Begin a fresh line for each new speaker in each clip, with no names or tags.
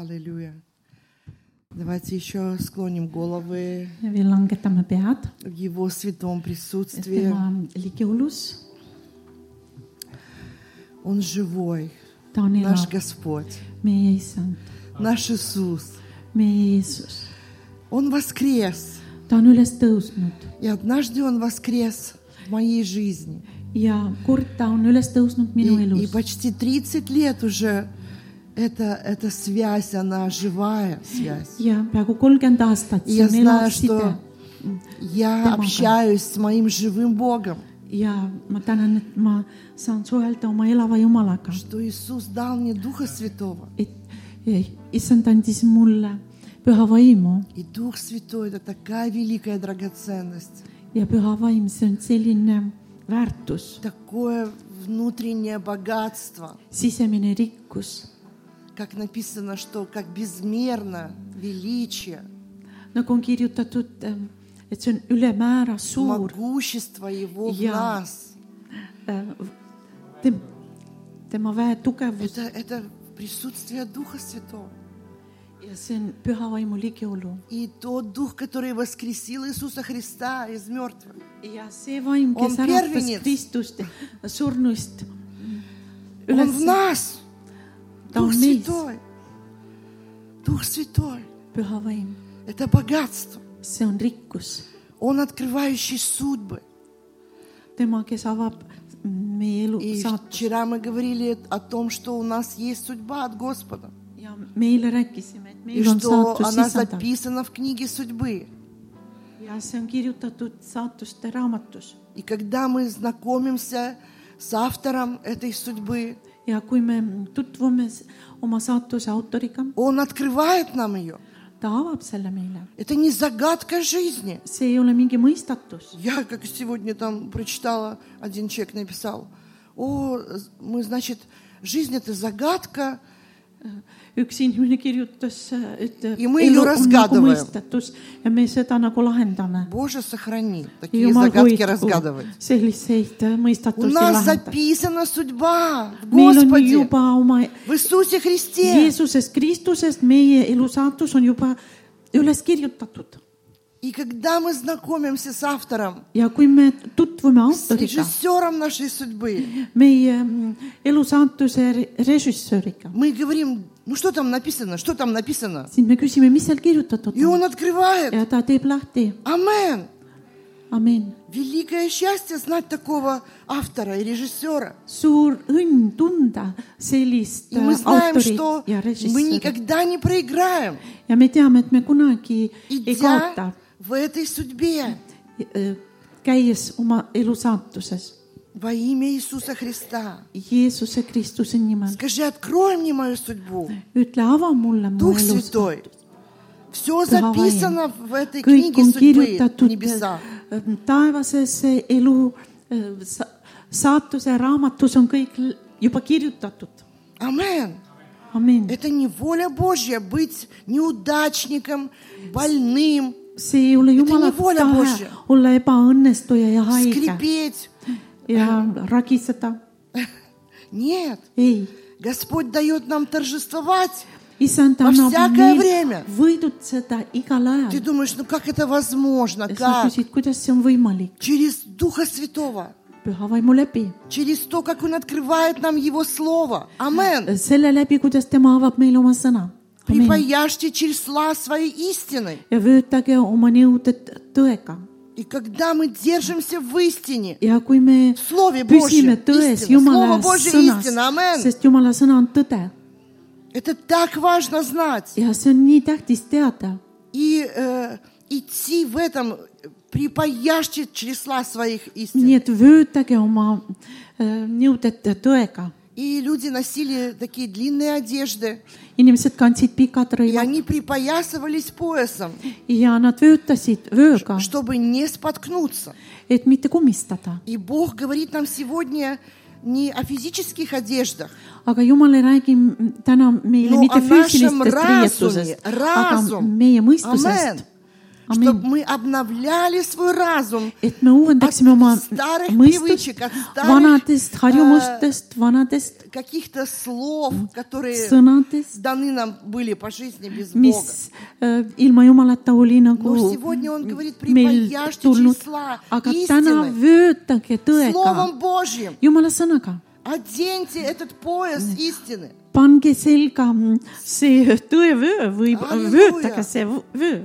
Аллилуйя. Давайте еще склоним головы
Vi langetame pead
в Его святом присутствии.
tema ligiolus .
Он живой,
ta on
наш
elav ,
Господь,
meie issand ,
наш Иисус.
meie Jeesus .
Он воскрес.
ta on üles tõusnud
И однажды Он воскрес в моей жизни.
ja kord ta on üles tõusnud
И,
minu
и
elus
почти 30 лет уже эта, эта связь, она живая связь.
ja peaaegu kolmkümmend aastat .
И я знаю, что я
Тема,
общаюсь с моим живым Богом,
ja ma tänan , et ma saan suhelda oma elava Jumalaga ,
что Иисус дал мне Духа Святого.
et e, issand andis mulle püha vaimu
И Дух Святой – это такая великая драгоценность,
ja püha vaim , see on selline väärtus ,
такое внутреннее богатство,
sisemine rikkus ,
как написано, что как безмерно величие,
nagu on kirjutatud , et see on ülemäära suur
могущество Его в
Я.
нас.
äh, tem, tema väe tugevus
Это, это присутствие Духа Святого.
ja see on püha vaimu ligiolu
И тот Дух, который воскресил Иисуса Христа из мертвых,
ja see vaim ,
On
kes äratas
pervinits.
Kristust surnuist
Он в
üles ,
нас.
ta
Дух
on meis ,
Святой. Дух Святой.
püha vaim ,
Это богатство.
see on rikkus ,
Он открывающий судьбы.
tema , kes avab meie elu
И
saatuse
вчера мы говорили о том, что у нас есть судьба от Господа.
ja me eile rääkisime ,
И
et meil on
что
saatus
она
sisada
записана в книге судьбы.
ja see on kirjutatud saatuste raamatus
И когда мы знакомимся с автором этой судьбы,
ja kui me tutvume s- oma saatuse autoriga ,
он открывает нам ее.
ta avab selle meile ,
Это не загадка жизни.
see ei ole mingi mõistatus
Я, как сегодня там прочитала, один человек написал, о, мы, значит, жизнь это загадка,
üks inimene kirjutas , ütleb
Ja me ju . разгадываем.
nagu mõistatus ja me seda nagu lahendame .
Боже, сохрани такие
jumal
загадки
hoidku
разгадывать.
selliseid äh,
У
mõistatusi
нас
lahendada .
записана судьба в
meil on
Господе,
juba oma
в Иисусе Христе.
Jeesusest Kristusest , meie elusaatus on juba üles kirjutatud
И когда мы знакомимся с автором,
ja kui me tutvume
с
autoriga ,
режиссером нашей судьбы,
meie mm, elusaatuse re- režissööriga ,
мы говорим, ну что там написано, что там написано?
siis me küsime , mis seal kirjutatud
И
on
он открывает.
ja ta teeb lahti ,
Амен.
amin
Великое счастье знать такого автора и режиссера.
suur õnn tunda sellist
И мы
äh,
знаем,
autorit
что мы
ja režissööri
никогда не проиграем,
ja me teame , et me kunagi ei kaota äh,
идя , в этой судьбе
käies oma elu saatuses
во имя Иисуса Христа.
Jeesuse Kristuse nimel .
Скажи, открой мне мою судьбу.
ütle , ava mulle mu
Дух
elu .
Святой. Все
Пыховая.
записано в этой
kõik
книге
on
судьбы
kirjutatud
небеса.
äh, taevases äh, elu äh, sa- saatuse raamatus on kõik l- juba kirjutatud .
Амен.
amin .
Это не воля Божья быть неудачником, больным,
see ei ole jumala
nii voole
tahe
Božja.
olla ebaõnnestuja ja haige
скрипеть.
ja ragiseda
Нет.
ei ,
Господь дает нам торжествовать.
issand
Ma
annab
всякое время.
meil võidutseda igal
Ты
ajal .
думаешь, ну как это возможно?
sa
Как?
küsid , kuidas see on võimalik
Через Духа Святого.
püha vaimu läbi ,
Через то, как Он открывает нам Его Слово. Амен.
selle läbi , kuidas tema avab meile oma sõna .
Припаяшьте числа своей истины.
ja vöötage oma nõuded tõega
И когда мы держимся в истине,
ja kui me
в Слове
püsime
Божьем,
tões
истина, Слово
Jumala
Божье
sõnas
истина, амен.
sest Jumala sõna on tõde
Это так важно знать.
ja see on nii tähtis teada
И э, идти в этом, припаяшьте числа своих истин.
nii et vöötage oma äh, nõuded tõega .
И люди носили такие длинные одежды,
inimesed kandsid pikad
и
rõivad
они припоясывались поясом,
ja nad vöötasid vööga ,
чтобы не споткнуться.
et mitte kummistada
И Бог говорит нам сегодня не о физических одеждах,
aga Jumal ei räägi m- täna meile
но
mitte
о нашем
füüsilistest
разуме,
riietusest , aga
разум,
meie mõistusest
Амен. чтобы мы обновляли свой разум
et me uuendaksime oma
От старых
mõistust
привычек, от старых,
vanadest harjumustest , vanadest
каких-то слов, которые
sõnadest ,
даны нам были по жизни без
mis
Бога.
äh, ilma Jumalata oli nagu
Но сегодня он говорит,
meil
припаяшьте
tulnud ,
числа
aga täna
истины
vöötage tõega ,
Словом Божьим.
Jumala sõnaga
Оденьте этот пояс истины.
pange selga mm, see tõevöö või
Halleluuja!
vöötage see võ- vöö .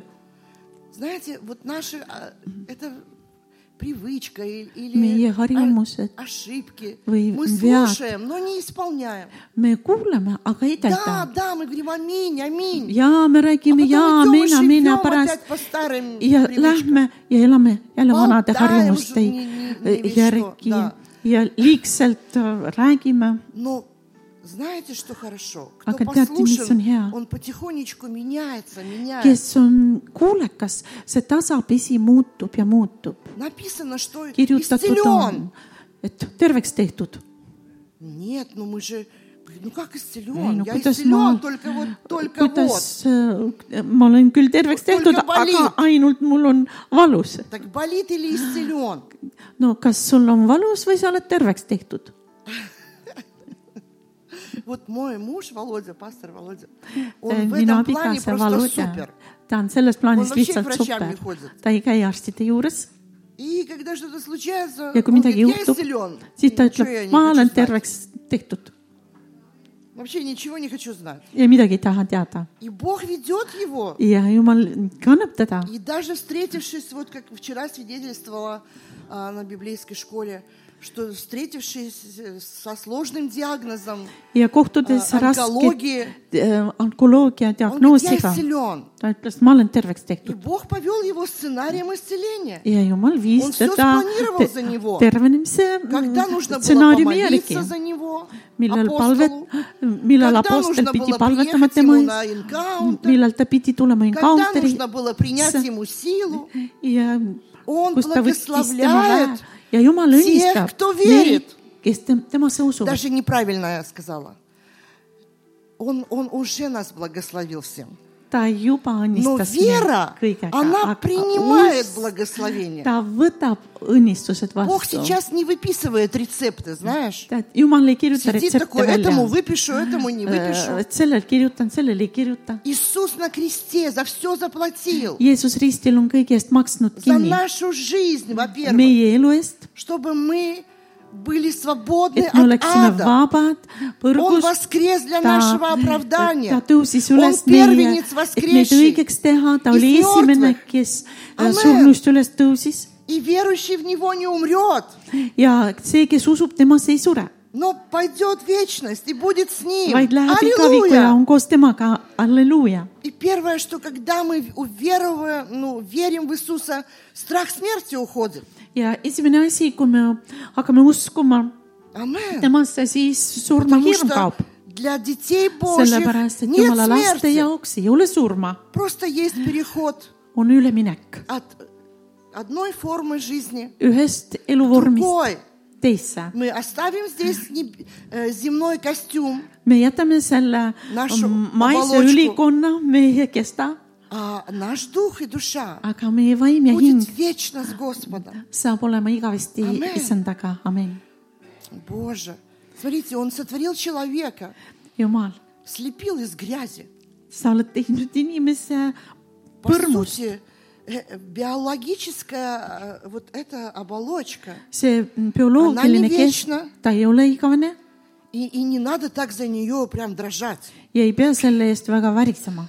Знаете, вот наши а, это привычка и- или
Meie harjumused.
а- ошибки.
Või
Мы
vead.
слушаем, но не исполняем.
me kuulame , aga ei
Да,
täida .
да, мы говорим аминь, аминь. А
ja me räägime ja
Потом идем и
mina , mina
живем
pärast
опять по старым
ja
привычкам.
lähme ja elame jälle
Valdaja
vanade harjumuste äh,
usub nii- nii- nii
järgi
vistu, da.
ja liigselt äh, räägime .
Но Ну, знаете, что хорошо?
А
Кто
когда ты
послушен,
миссионер.
он потихонечку меняется, меняется.
kes on kuulekas , see tasapisi muutub ja muutub .
Написано, что
kirjutatud
исцелен.
on , et terveks tehtud
Нет, ну мы же... говорим, Ну как
Ei,
исцелен?
no
Я
kuidas
исцелен
ma-
только вот,
Э,
только
kuidas
вот.
äh, ma olen küll terveks
Tulge
tehtud , aga
valiit.
ainult mul on valus .
Так болит
А.
или исцелен?
no kas sul on valus või sa oled terveks tehtud ?
Вот мой муж Володя, пастор Володя,
Э,
он в
minu
этом плане
abikaasa
просто
Valuja
супер. ,
ta on selles plaanis
Mul on
lihtsalt
вообще врачам
super
ei ходит. ,
ta ei käi arstide juures
И когда что-то случается,
ja
он
kui midagi
говорит, я
juhtub
исцелен. ,
siis ta
Ничего я не ,
ütleb ma
хочу
olen
знать.
terveks tehtud
Вообще ничего не хочу знать.
ja midagi ei taha teada
И Бог ведет его.
ja jumal kannab teda
И даже встретившись, вот как вчера свидетельствовала а, на библейской школе, что встретившись э, со сложным диагнозом,
ja kohtudes
Äh,
raske
onkoloogia-
äh, onkoloogia
он говорит, я
diagnoosiga ,
исцелен.
ta ütles , ma olen terveks
И
tehtud
Бог повел его сценарием исцеления.
ja jumal viis
Он всё
teda
спланировал
te-
за него.
tervenemise
Когда нужно было
stsenaariumi järgi
помолиться за него,
millal palvet
апостолу, ,
millal
Когда
apostel
нужно
pidi
было
palvetama
приехать
tema
ему
ees
на , encounter,
millal ta pidi tulema
когда
encounter'i
нужно было принять ему силу,
ja
Он
kus ta võttis tema väe
благословляет
ja Jumal
тех,
õnnistab
кто
neid
верит. ,
kes tem- temasse usuvad .
даже неправильно я сказала. Он, он уже нас благословил всем.
ta juba
Но
õnnistas
вера,
meid kõigega ,
она принимает благословение.
ta võtab õnnistused
Бог
vastu .
сейчас не выписывает рецепты, знаешь?
tead , Jumal ei kirjuta
Сидит
retsepte
такой, этому
välja .
выпишу, этому не
Э,
выпишу.
et sellel kirjutan , sellel ei kirjuta .
Иисус на кресте за все заплатил.
Jeesus ristil on kõigi eest maksnud
За
kinni
нашу жизнь, во-первых.
meie elu eest
Чтобы мы были свободны
et me
от
oleksime
ада.
vabad
Он
põrgust .
воскрес для
ta ,
нашего
ta
оправдания.
tõusis
Он
üles meie ,
первенец
et meid
воскресший.
õigeks teha , ta oli
Из
esimene
мертвых. ,
kes äh,
Amen.
surnust üles tõusis
И верующий в Него не умрет,
ja see , kes usub temasse ei sure ,
но пойдет в вечность и будет с Ним.
vaid läheb igaviku ja on koos temaga , halleluuja .
И первое, что когда мы уверовываем, ну, верим в Иисуса, страх смерти уходит.
ja esimene asi , kui me hakkame uskuma
Амен.
temasse , siis
Потому
surmahirm
что
kaob ,
для детей Божьих
sellepärast et
нет
jumala laste
смерти.
jaoks ei ole surma ,
Просто есть переход
on üleminek
от одной формы жизни
ühest
к
eluvormist
другой.
teisse .
Мы оставим здесь неб- э, земной костюм,
me jätame selle mm,
Našu
maise
obaločku.
ülikonna , me ei kesta ,
а наш дух и душа
aga meie vaim ja hing
будет вечно с Господом.
saab olema igavesti
Amen.
issandaga , amin .
Боже, смотрите, Он сотворил человека,
jumal ,
слепил из грязи.
sa oled teinud inimese
По
põrmust ,
сути, э, биологическая э, вот эта оболочка.
see bioloogiline
Она не
kest
вечна. ,
ta ei ole igavene
И, и не надо так за нее прям дрожать.
ja ei pea selle eest väga värisema .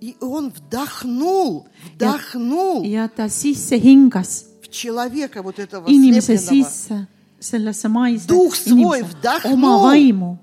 И Он вдохнул, вдохнул
ja ta sisse hingas
в человека вот этого
inimese
слепленного.
sisse , sellesse maise
Duh svoj
inimese
vdahnul.
oma vaimu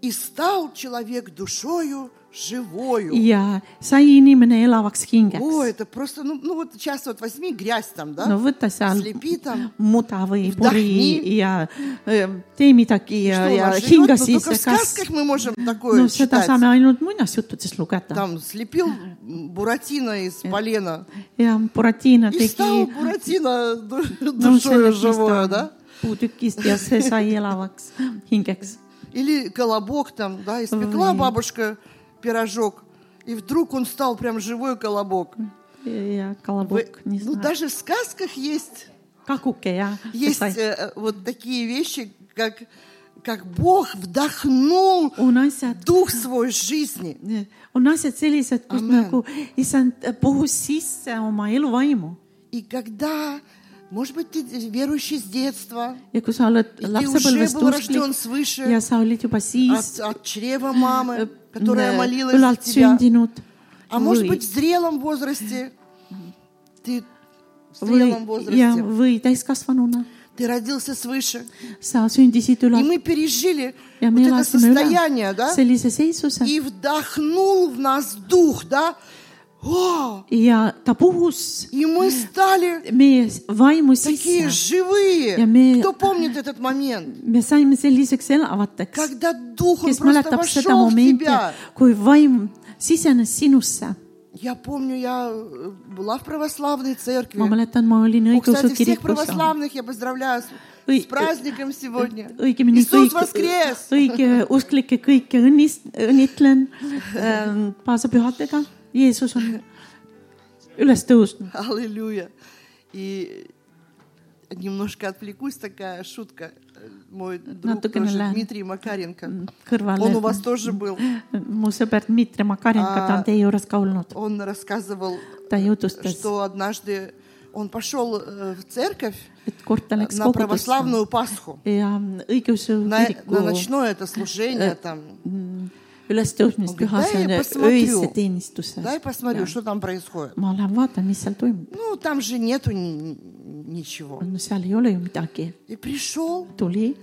И стал человек душою живою.
ja sai inimene elavaks hingeks
О, это просто, ну, ну вот сейчас вот возьми грязь там, да?
no võta seal
Slepi ta.
muda või puri
Vdahni.
ja öö, tee midagi
Что,
ja
у ,
ja
нас живет? Ну,
hinga sisse
только в ,
kas
сказках мы можем такое
no seda
читать.
saame ainult muinasjuttudest lugeda
Там слепил Буратино из полена.
ja Buratina
И стал
tegi
Буратино ду-
no
душою
sellest , mis
живое,
ta
да?
puutükist ja see sai elavaks hingeks
Или колобок там, да, испекла
Ой.
бабушка пирожок. И вдруг он стал прям живой колобок.
ja
Вы-
колобок, не
ну,
знаю.
даже в сказках есть,
Какуке, ja.
есть
Sai.
э, вот такие вещи, как, как Бог вдохнул
on asjad ,
дух свой жизни.
on asjad sellised , kus
Amen.
nagu issand puhus sisse oma eluvaimu
И когда, может быть, ты верующий с детства,
ja kui sa oled
и ты уже
lapsepõlvest
был рожден
usklik ja
свыше
sa olid juba siis
от, от чрева
Э,
мамы, которая молилась за
ülalt
тебя.
sündinud
А может
või
быть, в зрелом возрасте ты в зрелом
või , ja
возрасте
või täiskasvanuna
ты родился свыше,
sa sündisid
и
ülalt
мы пережили
ja
вот
me
это
elasime
состояние,
üle
да?
sellise seisuse
И вдохнул в нас дух, да? О,
ja ta puhus
и мы стали
meie vaimu
такие
sisse . Я
живые.
имею-
Кто помнит этот момент?
me saime selliseks elavateks ,
Когда дух он
kes
просто
mäletab seda
вошел в
momenti
тебя. ,
kui vaim sisenes sinusse .
Я помню, я э, была в православной церкви.
ma mäletan , ma olin
Ну,
õigeusu
кстати, всех
kirikus ,
православных я поздравляю с,
Ой,
с праздником сегодня.
õigemini
Иисус
kõik
воскрес! ,
õige usklikke kõiki õnnist- , õnnitlen ähm, paasapühadega . Jeesus on üles tõusnud .
Аллилуйя. И немножко отвлекусь, такая шутка. Э, Мой друг
Натукина
тоже,
ля.
Дмитрий Макаренко. Он у
kõrvale
вас тоже был.
mu sõber Dmitri Makarenko , ta on teie juures ka olnud .
Он рассказывал,
ta jutustas ,
что однажды он пошел э, в церковь
et kord ta läks
на
kogudusse
православную Пасху.
ja mm, õigeusu
На, на
kiriku
ночное это служение там.
ülestõusmispüha ,
Дай
see
я
on
посмотрю.
öise teenistuse .
Дай посмотрю, что там происходит.
ma lähen vaatan , mis seal toimub .
Ну, там же нету ни- ни- ничего.
no seal ei ole ju midagi .
И пришел,
tuli ,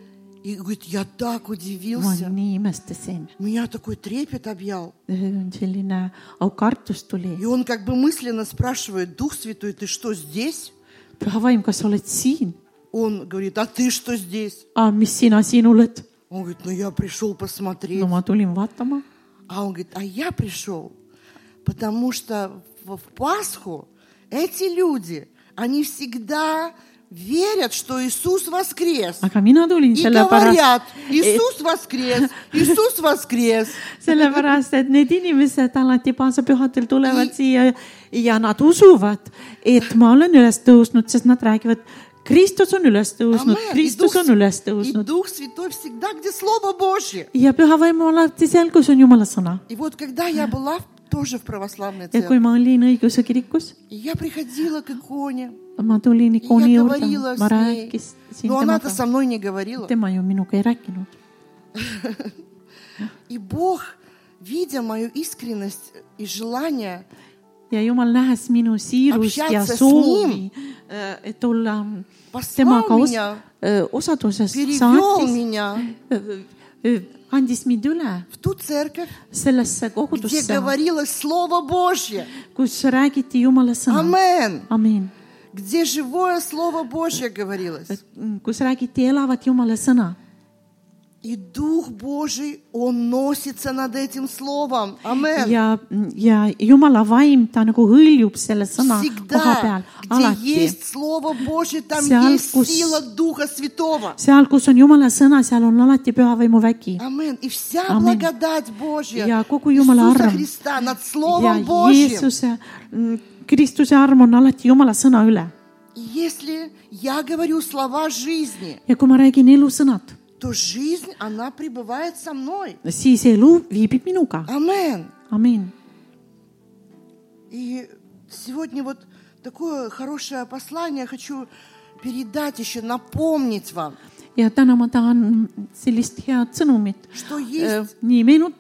и говорит, я так
ma
удивился.
nii imestasin .
Меня такой трепет объял.
selline aukartus tuli
И он как бы мысленно спрашивает, Дух Святой, ты что здесь?
püha vaim , kas sa oled siin ?
Он говорит, а ты что здесь?
mis sina siin oled ?
Он говорит, ну я пришел посмотреть.
no ma tulin vaatama .
А он говорит, а я пришел, потому что в в Пасху эти люди, они всегда верят, что Иисус воскрес.
aga mina tulin
И говорят,
sellepärast ,
Иисус воскрес, Иисус воскрес.
sellepärast , et need inimesed alati paasapühadel tulevad siia ja nad usuvad , et ma olen üles tõusnud , sest nad räägivad , Kristus on üles
Амен.
tõusnud ,
И Дух
Kristus on üles
С- и
tõusnud
Дух Святой всегда, где Слово Божье.
ja püha vaim on alati seal , kus on Jumala sõna .
И вот когда я была в- тоже в православной
ja
церкви,
kui ma olin õigeusu kirikus ,
и я приходила к иконе,
ma tulin
и я
ikooni juurde
говорила ,
ma
с ней.
rääkisin
Но она-то
temaga ,
со мной не говорила.
tema ju minuga ei rääkinud
И Бог, видя мою искренность и желание,
ja jumal nähes minu siirust ja
Общаться с
soovi , et olla
послал
temaga os
меня,
äh, osaduses ,
перевел
saatis ,
меня
andis mind üle
в ту церковь,
sellesse
где
kogudusse ,
говорилось Слово Божье.
kus räägiti Jumala sõna ,
Амен.
amin ,
Где живое Слово Божье говорилось.
Э, mm, kus räägiti elavat Jumala sõna
И Дух Божий, Он носится над этим Словом. Амен.
ja , ja Jumala vaim , ta nagu hõljub selle sõna koha
Всегда,
peal ,
где
alati
есть Слово Божье, там
Seal,
есть
kus-
сила Духа Святого.
seal , kus on Jumala sõna , seal on alati püha vaimu vägi
Амен. И вся
Амен.
благодать Божья
Я куку Юмала
Иисуса
арам.
Христа над
ja
Словом Божьим.
Jeesuse , Kristuse arm on alati Jumala sõna üle
И Если я говорю слова жизни,
ja kui ma räägin elusõnad ,
то жизнь, она пребывает со мной.
siis elu viibib minuga ,
Амен.
amin .
И сегодня вот такое хорошее послание хочу передать еще, напомнить вам,
ja täna ma tahan sellist head sõnumit
что
äh,
есть
nii meenut- ,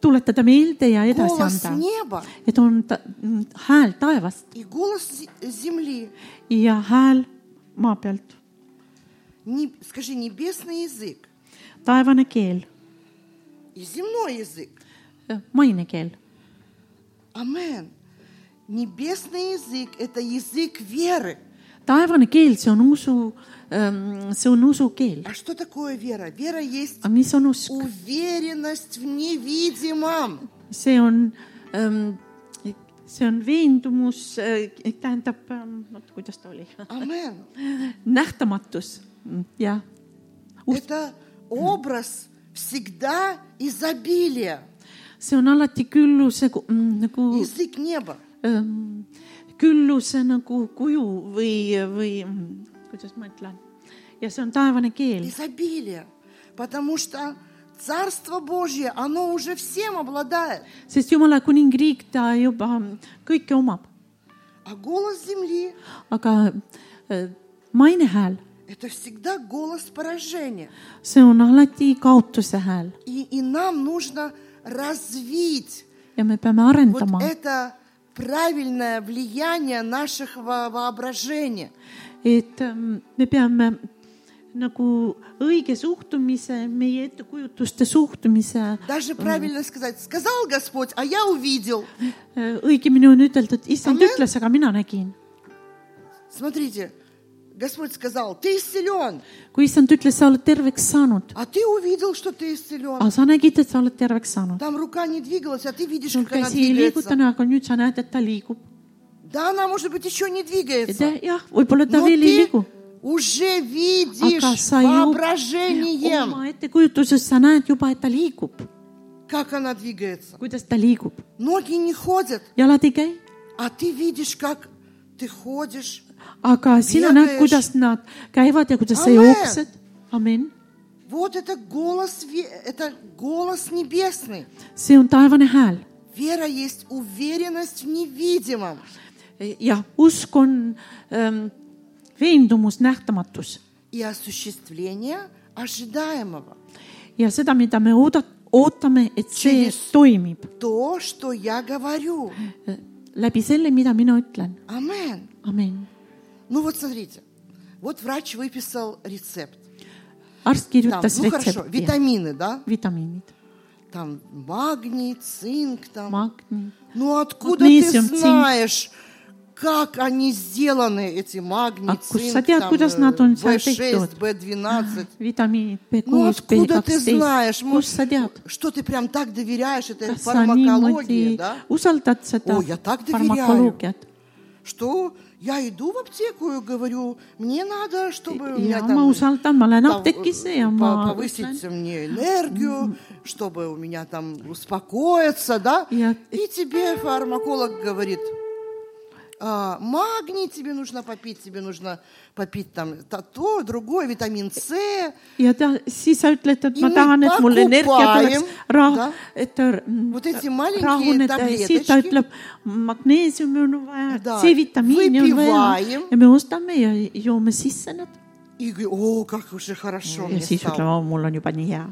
tuletada meelde ja edasi
голос
anda ,
неба
et on ta, m, hääl taevast
и голос зе- земли.
ja hääl maa pealt ,
Не- скажи, небесный язык
taevane keel ,
и земной языk.
maine keel
Амен. Небесный язык – это язык веры.
taevane keel , see on usu , see on usu keel .
А что такое вера? Вера есть
aga mis on usk ?
уверенность в невидимом.
see on , see on veendumus , tähendab , oot , kuidas ta oli ?
Амен.
nähtamatus , jah .
Это образ всегда изобилия.
see on alati külluse ku- mm, nagu
язык неба.
ähm, külluse nagu kuju või , või mm, kuidas ma ütlen ja see on taevane keel ,
изобилие, потому что Царство Божье, оно уже всем обладает,
sest Jumala kuningriik , ta juba mm, kõike omab ,
а голос земли
aga äh, maine hääl ,
– это всегда голос поражения.
see on alati kaotuse hääl
И, и нам нужно развить
ja me peame
вот
arendama
это правильное влияние наших во- воображения.
et ähm, me peame nagu õige suhtumise , meie ettekujutuste suhtumise ,
Даже правильно сказать, сказал Господь, а я увидел.
õigemini äh, on üteldud , issand
Amen.
ütles , aga mina nägin .
Смотрите, Господь сказал, ты исцелен,
kui issand ütles , sa oled terveks saanud ,
а ты увидел, что ты исцелен.
aga sa nägid , et sa oled terveks saanud .
Там рука не двигалась, а ты видишь,
sul
как она
käsi ei
двигается.
liigutanud , aga nüüd sa näed , et ta liigub .
Да, она, может быть, еще не двигается.
jah , võib-olla ta
Но
veel ei
ты
liigu .
уже видишь
Ага, союз.
воображением,
oma ettekujutuses sa näed juba , et ta liigub ,
как она двигается.
kuidas ta liigub .
Ноги не ходят,
jalad ei käi ,
а ты видишь, как ты ходишь.
aga sina
Jagades.
näed , kuidas nad käivad ja kuidas sa
Amen.
jooksed . amin
Вот это голос, ве- это голос небесный.
see on taevane hääl
Вера есть уверенность в невидимом.
ja usk on ähm, veendumus , nähtamatus
и осуществление ожидаемого.
ja seda , mida me oodat- , ootame , et see
Siis-
toimib
То, что я говорю.
äh, läbi selle , mida mina ütlen .
Амен.
amin .
Ну вот смотрите. Вот врач выписал рецепт.
arst
Там,
kirjutas
ну хорошо,
retsepti ,
витамины, да?
vitamiinid ,
Там магний, цинк, там.
magnid ,
Ну откуда ты
магнезиум, цинк.
знаешь, как они сделаны, эти магний,
А кус-
цинк,
а те
там,
откуда
э,
знают, он сам
B6,
течет.
B12?
vitamiinid
Ну
B6 ,
откуда ты знаешь?
B12 ,
Мы-
kust sa tead ?
Что ты прям так доверяешь этой
kas sa niimoodi
фармакологии, да?
usaldad seda
Oi, ja tak doverяю.
farmakoloogiat ?
Что я иду в аптеку и говорю, мне надо, чтобы у меня
ja
там
ma usaldan , ma lähen
пов-
apteekisse ja
по-
ma
повысить мне энергию, чтобы у меня там успокоиться, да?
Я-
И тебе фармаколог говорит, «А, магний тебе нужно попить, тебе нужно попить там то, то другое, витамин С.
ja ta , siis sa ütled , et
Ja
ma
me
tahan , et mul
pakupaim,
energia tuleks
da.
rah- , et
Вот эти
mm,
маленькие
rahuneda ja siis ta
tabletочки.
ütleb , magneesiumi on vaja
Da. ,
C-vitamiini on vaja
Выпиваем.
ja me ostame ja joome sisse nad
И говорю, о, как уже хорошо
ja
мне
siis
стало.
ütleme , mul on juba nii hea ,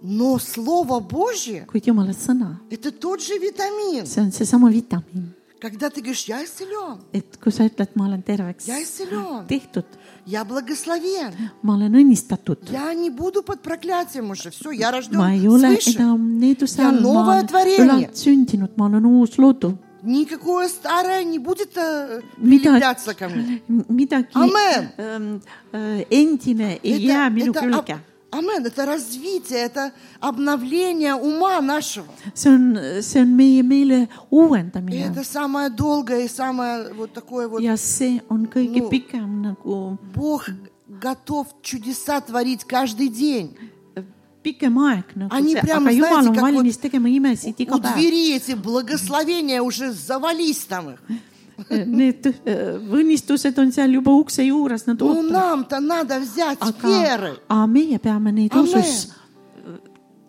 Но Слово Божье
kuid jumala sõna ,
– это тот же витамин.
see on seesama vitamiin ,
Когда ты говоришь, я исцелен,
et kui sa ütled , ma olen terveks
я исцелен,
tehtud ,
я благословен,
ma olen õnnistatud ,
я не буду под проклятием уже, все, я рожден
ma ei ole
свыше.
enam needuse
Ja
all , ma
novo
olen
tvorenie.
ülalt sündinud , ma olen uus loodu
Никакое старое не будет э,
Mida-
прилепляться ко мне.
midagi
Amen.
ähm, äh, endine ei jää minu
это
külge
об- Амен, это развитие, это обновление ума нашего.
see on , see on meie meele
И
uuendamine
это самое долгое и самое вот такое вот.
ja see on kõige
Ну.
pikem nagu
Бог готов чудеса творить каждый день.
pikem aeg nagu
Они
see ,
прям,
aga Jumal
знаете,
on
как
valmis tegema imesid
У
iga päev .
двери эти благословения уже завались там их.
Need äh, õnnistused on seal juba ukse juures , nad
Ну
ootavad ,
нам-то надо взять
aga
веры.
aga meie peame neid
Amen.
usus äh,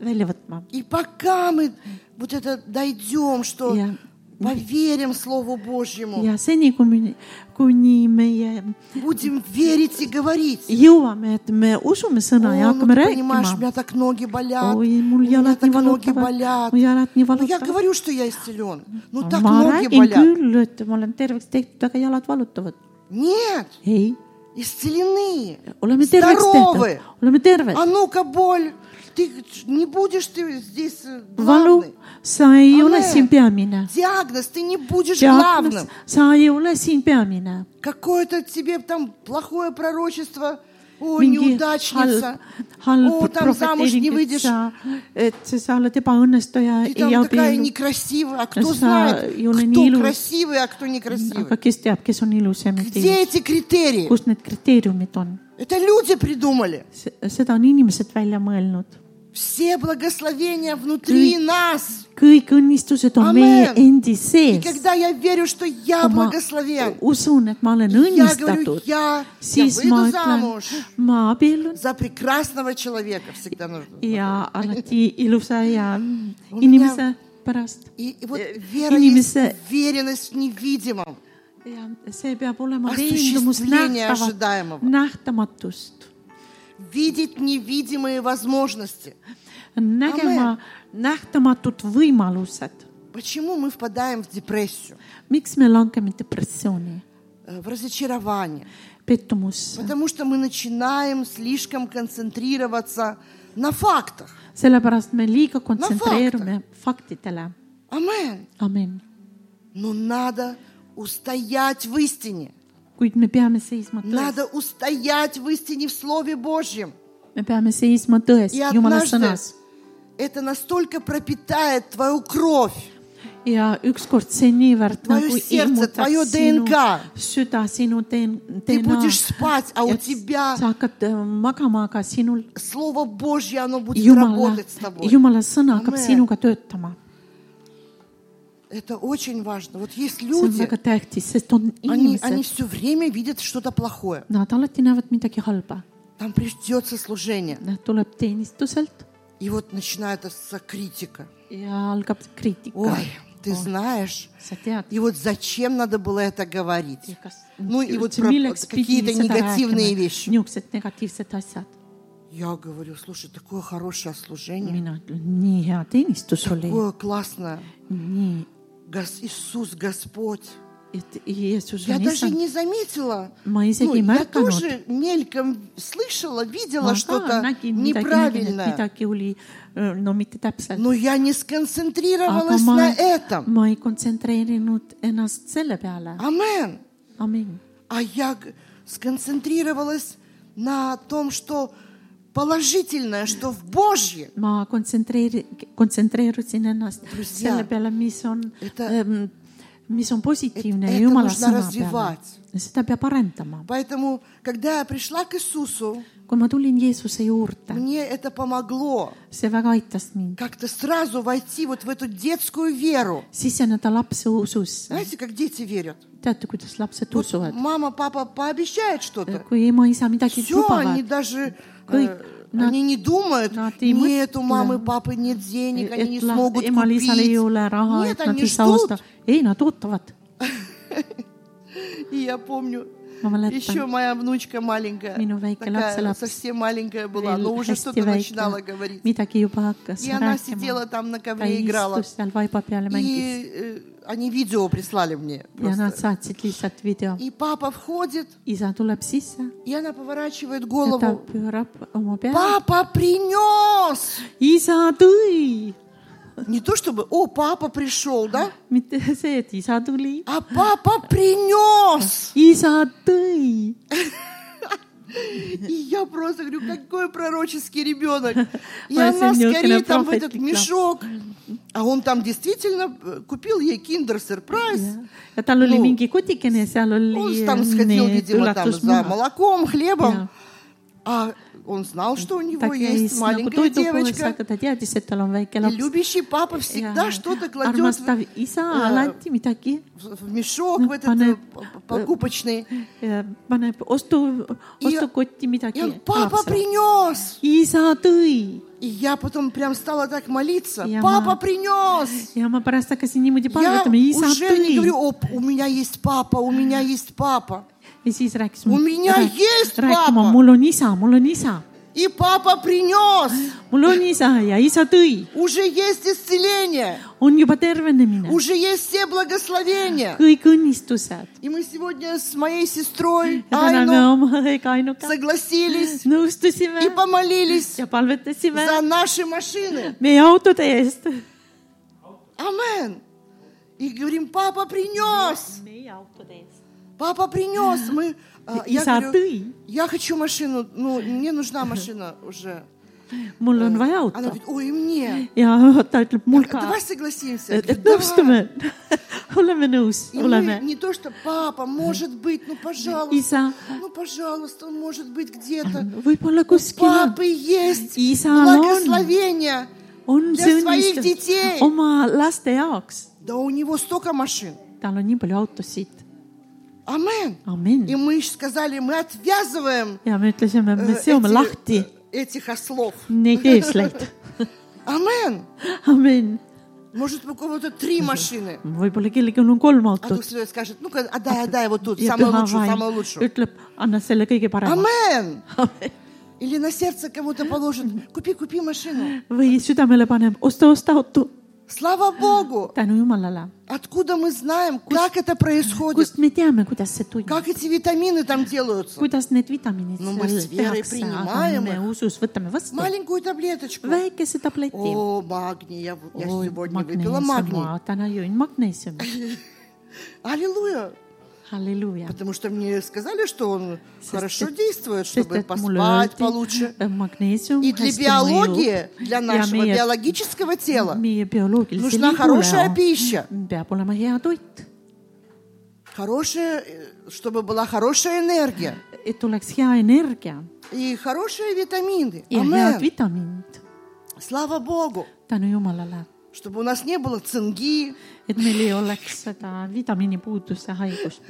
välja võtma
И пока мы вот это дойдем, что
Я-
поверим Слову Божьему,
ja seni , kuni , kuni meie
будем верить и говорить.
jõuame , et me usume sõna ja
О, ну
hakkame
ты понимаешь,
rääkima
у меня так ноги болят,
ой ,
у
mul
меня
jalad
так
nii
ноги
valutavad ,
болят.
mu jalad nii
Ну, я
valutavad .
говорю, что я исцелен, но так
ma
ноги
räägin
болят.
küll , et ma olen terveks tehtud , aga jalad valutavad .
Нет,
ei ,
исцелены,
oleme terveks
здоровы.
tehtud , oleme terved
А . ну-ка, боль, ты не будешь ты здесь э,
valu
главный. ,
sa ei
Amen.
ole siin peamine .
Диагноз, ты не будешь
diagnoos
главным. ,
sa ei ole siin peamine .
Какое-то тебе там плохое пророчество, о,
mingi
неудачница,
halb , halb
о, там замуж не
prohveteering , et
выйдешь,
sa , et sa oled
ты
ebaõnnestuja , ei
там такая
abiellu .
некрасивая, а
Са-
кто знает,
Юнанилу.
кто красивый, а кто
aga
некрасивый.
kes teab , kes on ilus ja mitte
Где
ilus ,
эти критерии?
kus need kriteeriumid on ?
Это люди придумали.
Se- seda on inimesed välja mõelnud .
Все благословения внутри
Ты-
нас.
kõik õnnistused on
Amen.
meie endi
И
sees .
когда я верю, что я
kui ma
благословен,
usun , et ma olen
я говорю,
õnnistatud ,
я, я
siis ma
выйду
ütlen
замуж ,
ma abiellun
за прекрасного человека. Всегда нужно.
ja alati ilusa ja
On
inimese pärast .
И, и вот вера есть
inimese-
уверенность в невидимом.
ja see peab olema veendumus
Осуществление
nähtavat ,
ожидаемого.
nähtamatust ,
Видеть невидимые возможности.
nägema nähtamatud võimalused .
Почему мы впадаем в депрессию,
miks me langeme depressiooni ,
э, в разочарование?
pettumusse ?
Потому что мы начинаем слишком концентрироваться на фактах.
sellepärast me liiga kontsentreerume faktidele .
Амен.
amin .
Но надо устоять в истине.
kuid me peame seisma tões ,
Надо устоять в истине в Слове Божьем.
me peame seisma tões
И
Jumala
однажды
sõnas
это настолько пропитает твою кровь,
ja ükskord see niivõrd
Твое
nagu
сердце,
ilmutab
твое
sinu
DNK.
süda , sinu
ты
DNA ,
будешь спать, а у
et
тебя
sa hakkad äh, magama , aga sinul
Слово Божье, оно будет
Jumala
работать с тобой. ,
Jumala sõna hakkab
Amen.
sinuga töötama .
Это очень важно. Вот есть
see on
люди,
väga tähtis , sest on
они, они
inimesed ,
все время видят что-то плохое.
nad alati näevad midagi halba ,
Там придется служение.
nad tuleb teenistuselt
И вот начинается критика.
ja algab kriitika
Ой, . ты знаешь.
sa tead
И вот зачем надо было это говорить?
ja kas
Ну и вот
üldse
про-
milleks pidi
какие-то
seda
негативные
rääkima ,
вещи.
niisugused negatiivsed asjad .
Я говорю, слушай, такое хорошее служение,
mina ütlen , nii hea teenistus oli ,
такое классное.
nii ,
Гос- Иисус Господь.
et Jeesus
Я
on
даже
issand ,
не заметила.
ma
Ну,
isegi ei
я
märganud ,
тоже мельком слышала,
ma
видела
ka
что-то
nägin midagi , nägin , et
неправильное.
midagi oli , no mitte täpselt ,
Но я не
aga
сконцентрировалась
ma
на , этом.
ma ei kontsentreerinud ennast selle peale ,
Амен.
amin .
А я г- сконцентрировалась на том, что положительное, что в Божье.
ma kontsentreeri- , kontsentreerusin ennast
Друзья,
selle peale , mis on
это- ,
mis on positiivne
это
Jumala
нужно
sõna peale
развивать. .
seda peab arendama .
Поэтому, когда я пришла к Иисусу,
kui ma tulin Jeesuse juurde ,
мне это помогло
see väga aitas mind ,
как-то сразу войти вот в эту детскую веру.
siseneda lapse ususse .
Знаете, как дети верят?
teate , kuidas lapsed
Вот
usuvad ?
мама, папа пообещают что-то.
kui ema-isa midagi
Все, они
lubavad ,
даже э,
Kõik nad-
они не думают,
nad ei
нет, у
mõtle.
mamы, папы нет денег, они не
et la-
смогут
emal-isal ei ole raha ,
купить.
et
Нет,
nad
они
ei saa osta
ждут. .
ei , nad ootavad .
И я помню,
Ma mäletan.
еще моя внучка маленькая,
Minu väike
такая,
lapselaps
совсем маленькая была,
veel
но уже
hästi
что-то начинала
väike
говорить. ,
midagi juba hakkas
И она
rääkima
сидела . там на
ta
ковре играла.
istus seal vaiba peal ja mängis
И э, они видео прислали мне.
ja
просто.
nad saatsid lihtsalt video .
И папа входит,
isa tuleb sisse
и она поворачивает
ja ta
голову.
pöörab oma peale .
Папа принес!
isa tõi ,
Не то чтобы, о, папа пришел, да?
mitte see , et isa tuli ,
А папа принес!
isa tõi .
И я просто говорю, какой пророческий ребенок. И
Моя
она
семья
скорее там в
кинопрофит
этот
легла.
мешок. А он там действительно э, купил ей киндер сюрприз.
ja tal oli
No.
mingi kotikene , seal
Он
oli eh,
же там сходил,
need
видимо, там за
üllatusmunad
молоком,
Я.
хлебом. А он знал, что у него
ta
есть
käis nagu
маленькая
toidupoes ,
девочка.
aga ta teadis , et tal on väike
И
laps .
любящий папа всегда что-то кладет в- э,
armastav isa alati midagi
в в мешок,
Ну, э,
в этот
понятно.
э, п- покупочный.
ja paneb ostu , ostukotti
И
midagi
он, папа принес.
isa tõi
И я потом прям стала так молиться.
Я
Папа
ма-
принес.
ja ma pärast hakkasin niimoodi
Я
palvetama , isa
уже не
tõi
говорю, о, п- у меня есть папа, у меня есть папа.
ja siis rääkis
У меня есть
rääkima ,
papa.
mul on isa , mul on isa ,
И папа принес.
mul on isa ja isa tõi ,
Уже есть исцеление.
on juba tervenemine ,
Уже есть все благословения.
kõik õnnistused .
И мы сегодня с моей сестрой
ja täna me
Айну
oma õega ainuga
согласились
nõustusime
и помолились
ja palvetasime
за наши машины.
meie autode eest .
Амен. И говорим, папа принес,
meie autode eest .
папа принес. Мы, а, я
Иса,
говорю,
ты?
я хочу машину, ну, мне нужна машина уже.
mul on vaja
Она
auto
говорит, ой, и мне.
ja ta ütleb mul ka ,
Давай согласимся. Я
et
говорю,
et nõustume . oleme nõus ,
И мы
oleme .
не то, что папа, может быть, ну пожалуйста,
Isa.
ну пожалуйста, он может быть где-то.
võib-olla kuskil on ,
Папы есть
Иса, он-
благословение.
on
Для
see
своих
õnnistus
детей.
oma laste jaoks .
Да у него столько машин.
tal on nii palju autosid ,
Амен. И
amin .
мы ж сказали, мы отвязываем
ja me ütlesime ,
э,
me seome
э,
lahti
этих ослов.
neid eesleid ,
Амен.
amin .
Может, у кого-то три машины.
võib-olla kellelgi on kolm
А Дух
autot
Святой скажет, ну-ка, отдай, отдай вот тут,
ja
самую
püha
лучшую, самую
vaim
лучшую.
ütleb , anna selle kõige parema .
Амен. Или на сердце кому-то положит, купи, купи машину.
või südamele paneb , osta , osta auto ,
Слава Богу!
tänu jumalale .
Откуда мы знаем, как это происходит?
kust me teame , kuidas see toimub ,
Как эти витамины там делаются?
kuidas need vitamiinid
No me
seal
s verei
tehakse , aga
priimaeme.
me usus võtame vastu
Маленькую таблеточку.
väikese tableti .
О, магний, я, я
oi ,
сегодня выпила
magneesium ,
магний.
ma täna jõin magneesiumi ,
Аллилуйя!
halleluuja .
Потому что мне сказали, что он хорошо
это-
действует, чтобы
sest et mulle
поспать получше.
öeldi , magneesium
И для биологии, для нашего
meie,
биологического тела
meie bioloogilise
нужна хорошая
lihule
пища.
on- peab olema hea toit ,
Хорошая, э, чтобы была хорошая энергия
et oleks hea energia
и хорошие витамины.
ja head
Амен.
vitamiinid ,
Слава Богу,
tänu jumalale
чтобы у нас не было цинги.
et meil ei oleks seda vitamiinipuuduse haigust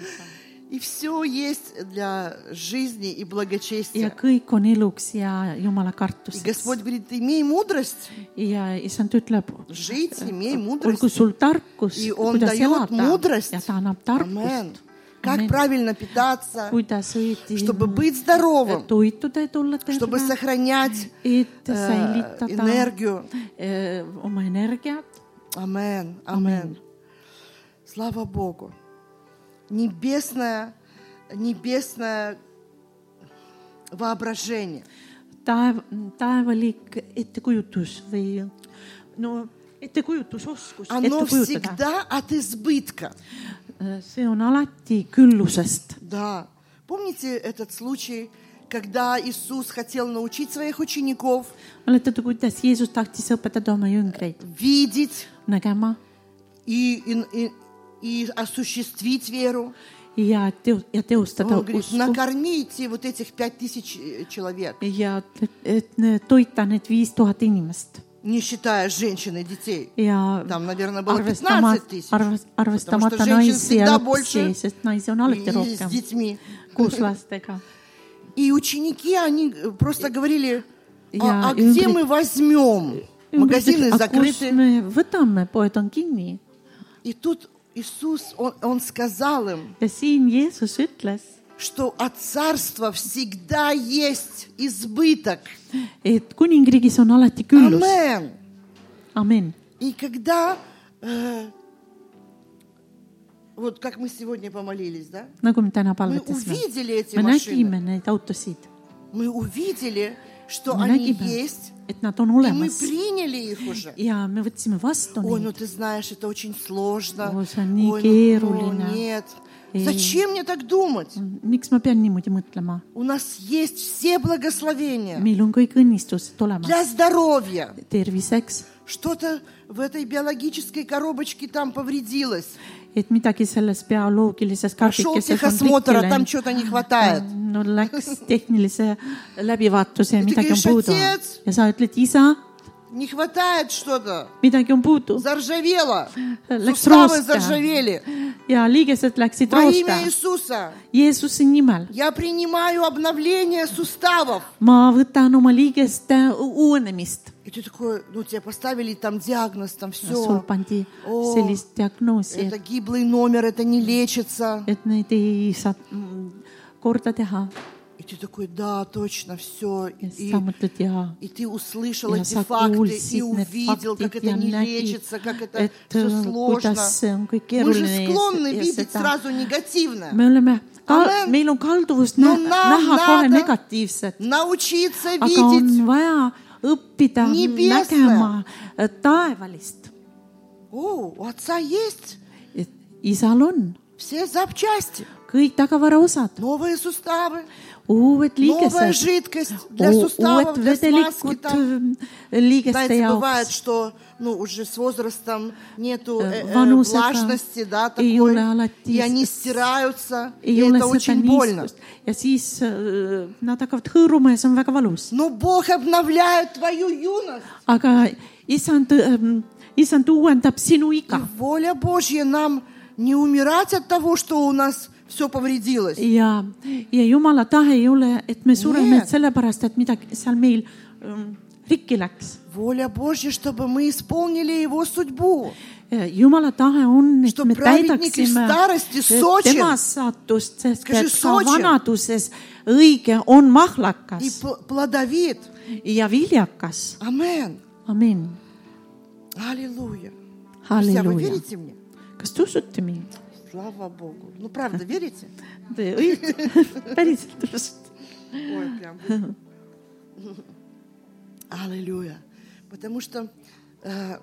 И все есть для жизни и
ja
благочестия.
kõik on eluks ja jumala
И
kartuses
Господь говорит, имей мудрость,
ja issand ütleb ,
жить, имей мудрость.
olgu sul tarkus ,
И он
kuidas
дает
elada
мудрость.
ja ta annab
Амен.
tarkust ,
Как
Амен.
правильно питаться,
kuidas õieti
чтобы быть здоровым,
toituda ja olla
чтобы
terve ,
сохранять
et
э,
säilitada
энергию.
eh, oma energiat ,
Амен, амен. Слава Богу. Небесное, небесное воображение.
taev , taevalik ettekujutus või no ettekujutusoskus ,
Оно
ette kujutada ,
всегда от избытка.
Äh, see on alati küllusest
Да. Помните этот случай, когда Иисус хотел научить своих учеnikов
mäletate , kuidas Jeesus tahtis õpetada oma jüngreid
видеть
nägema
и, и- и- и осуществить веру?
ja teo- , ja teostada
Он говорит,
usku
накормите вот этих пять тысяч э, человек,
ja ütleb, et ne- toita need viis tuhat inimest
не считая женщин и детей.
ja
Там, наверное, было
arvestama
15 , тысяч.
arves- , arvestamata
женщин
naisi ja
всегда
lapsi
больше. ,
sest naisi on
И
alati
с
rohkem
детьми.
koos lastega .
И ученики, они э, просто говорили,
Я-
а, а где
Ингрид-
мы возьмем? Магазины
aga kus
закрыты.
me võtame , poed on kinni
И тут Иисус, он, он сказал им,
ja siin Jeesus ütles ,
что от царства всегда есть избыток.
et kuningriigis on alati küllus ,
Амен.
amin .
И когда, э, вот как мы сегодня помолились, да?
nagu me täna
Мы
palvetasime ,
увидели эти
me
машины.
nägime neid autosid
Мы увидели, что
me
они
nägime
есть, ,
et nad on
и мы
olemas
приняли их уже.
ja me võtsime vastu
Ой, ну
neid
ты знаешь, это очень сложно.
Ой, Санни,
ну,
Керулина.
о, нет.
И-
Зачем мне так думать?
miks ma pean niimoodi mõtlema ?
У нас есть все благословения
meil on kõik õnnistused olemas
для здоровья.
terviseks ,
Что-то в этой биологической коробочке там повредилось.
et midagi selles bioloogilises
Пошел
karbikeses on
техосмотр,
tekki
а там
läinud .
что-то не хватает.
no läks tehnilise läbivaatuse ja midagi on
Ütlegi,
puudu
"Šatets!"
ja sa ütled , isa ,
Не хватает что-то.
midagi on puudu
Заржавело.
Лекс
Суставы
Роста.
заржавели.
ja liigesed läksid
Во
roosta
имя Иисуса
Jeesuse nimel .
я принимаю обновление суставов.
ma võtan oma liigeste u- uuenemist .
И ты такой, ну тебе поставили там диагноз, там
sul
все.
pandi
Oo.
sellist diagnoosi ,
Это гиблый номер, это не лечится.
et neid ei saa mm, korda teha
И ты такой, да, точно, все.
ja
И,
siis sa mõtled ja ,
и ты услышал
ja
эти
sa
факты и
kuulsid need
увидел, как
faktid
это
ja
не
nägid
лечится, как , это
et
все
äh,
сложно.
kuidas see on kõik
Мы же
keeruline ja,
склонны
ja
видеть
seda
сразу негативно.
me oleme ka ,
Amen.
meil on kalduvus
No
nä
na-
näha
nada-
kohe negatiivset ,
Научиться
aga on
видеть.
vaja õppida
Nebesne.
nägema äh, taevalist ,
О, у отца есть
et isal on
все запчасти,
kõik tagavaraosad ,
новые суставы,
uued
новая
liigesed ,
жидкость для суставов,
uued
для смазки.
vedelikud
Там.
öö, liigeste
Знаете, бывает,
jaoks ,
что ну, уже с возрастом нету э, э,
Вануса, да.
влажности, да,
И
такой,
Юля, она
и
тис-
они стираются, и,
ei ole
это
seda
очень больно.
niiskust ja siis öö, nad hakkavad hõõruma ja see on väga valus .
Но Ну, Бог обновляет твою юность.
aga isand , isand uuendab sinu
И
iga
воля Божья нам не умирать от того, что у нас все повредилось.
ja , ja jumala tahe ei ole , et me sureme
Nii.
sellepärast , et midagi seal meil mm, rikki läks .
Воля Божья, чтобы мы исполнили Его судьбу.
jumala tahe on , et
Что
me
праведник из
täidaksime
старости Сочи.
tema saatust , sest
Скажи,
et ka
Сочи.
vanaduses õige on
И
mahlakas
пл- плодовит.
ja viljakas .
Амен.
amin ,
Аллилуйя. Друзья, вы
halleluuja .
верите мне?
kas te usute mind ?
Слава Богу. Ну, правда, верите?
Te õieti , päriselt usute ?
Ой, прям. вы- Аллилуйя. Потому что э,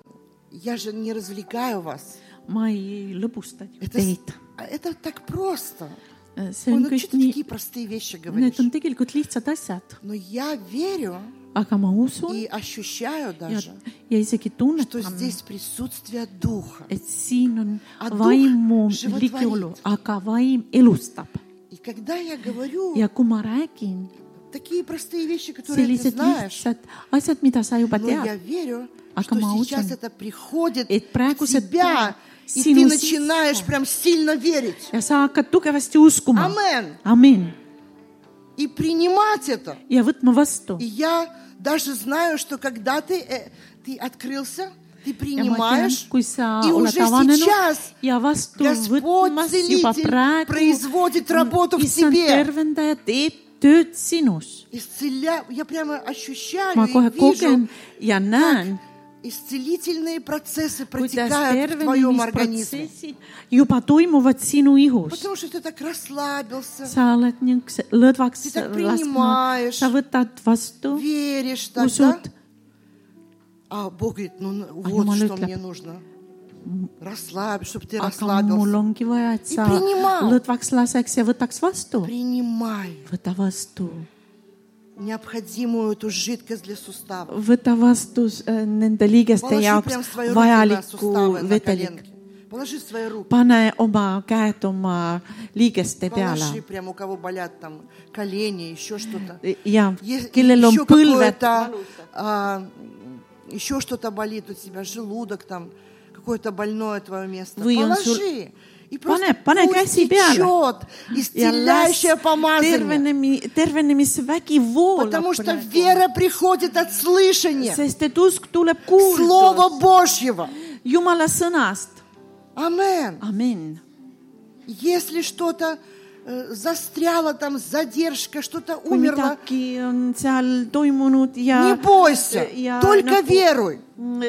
я же не развлекаю вас.
ma ei lõbusta ju
Это, с-
teid .
а это так просто.
see
Ой, ну
on
что
kõik
ты
nii
такие , простые вещи говоришь?
need on tegelikult lihtsad asjad ,
Но я верю
aga ma usun ,
и ощущаю
ja
даже, ,
ja isegi
что
tunnetan ,
здесь присутствие Духа.
et siin on
А дух
vaimu
животворит.
ligiolu , aga vaim elustab
И когда я говорю
ja kui ma räägin
такие простые вещи, которые ты
sellised
знаешь,
lihtsad asjad , mida sa juba
но я
tead ,
верю,
А
что
кому Э,
сейчас
учен?
это приходит
Эт
к
пракус эт
тебя, и ты
синусис.
начинаешь прям сильно верить.
ja sa hakkad tugevasti uskuma ,
Амен.
amin ,
И принимать это.
ja võtma vastu
И я даже знаю, что когда ты, э, ты открылся, ты
ja ma tean
принимаешь, ,
kui sa
и
oled
уже сейчас
avanenud ja vastu
Господь
võtmas juba
Целитель производит работу в ,
praegu issand
тебе.
tervendaja teeb tööd sinus .
исцеляю, я прямо ощущаю
ma
и
kohe
вижу,
kogen ja näen
исцелительные процессы
kuidas
протекают в твоем организме.
tervenemisprotsessid juba toimuvad sinu ihus .
Потому что ты так расслабился,
sa oled niisuguse lõdvaks
Sa tak
lasknud ,
priнимаешь.
sa võtad vastu ,
веришь так, да?
usud ,
А Бог говорит, ну н-
А
вот
Юмала
что
ütleb,
мне нужно. Расслабь, чтобы ты
aga mul
расслабился.
ongi vaja , et
Ja
sa
priima.
lõdvaks laseks ja võtaks vastu .
Принимай
võta vastu ,
необходимую эту жидкость для суставов.
võta vastu s- nende liigeste
Положи прям
jaoks
свои руки на
vajalikku
суставы, на
vedelikku .
коленки. Положи свои руки.
pane oma käed oma liigeste
Положи
peale
прям, у кого болят там колени, еще что-то.
ja
Е-
kellel on
еще
põlved
какое-то, а, м, еще что-то болит у тебя, желудок там, какое-то больное твое место.
Вы он су-
Положи. И просто
Пане- пане
пусть
käsi peale.
течет
ja las
исцеляющее помазание.
tervenemi- , tervenemisvägi voolab
Потому что
praegu.
вера приходит от слышания
sest et usk tuleb kuulda
Слова Божьего.
Jumala sõnast .
Амен.
amin .
Если что-то э, застряло там, задержка, что-то
kui
умерло,
midagi on seal toimunud ja
не бойся,
ja
только
nagu-
веруй.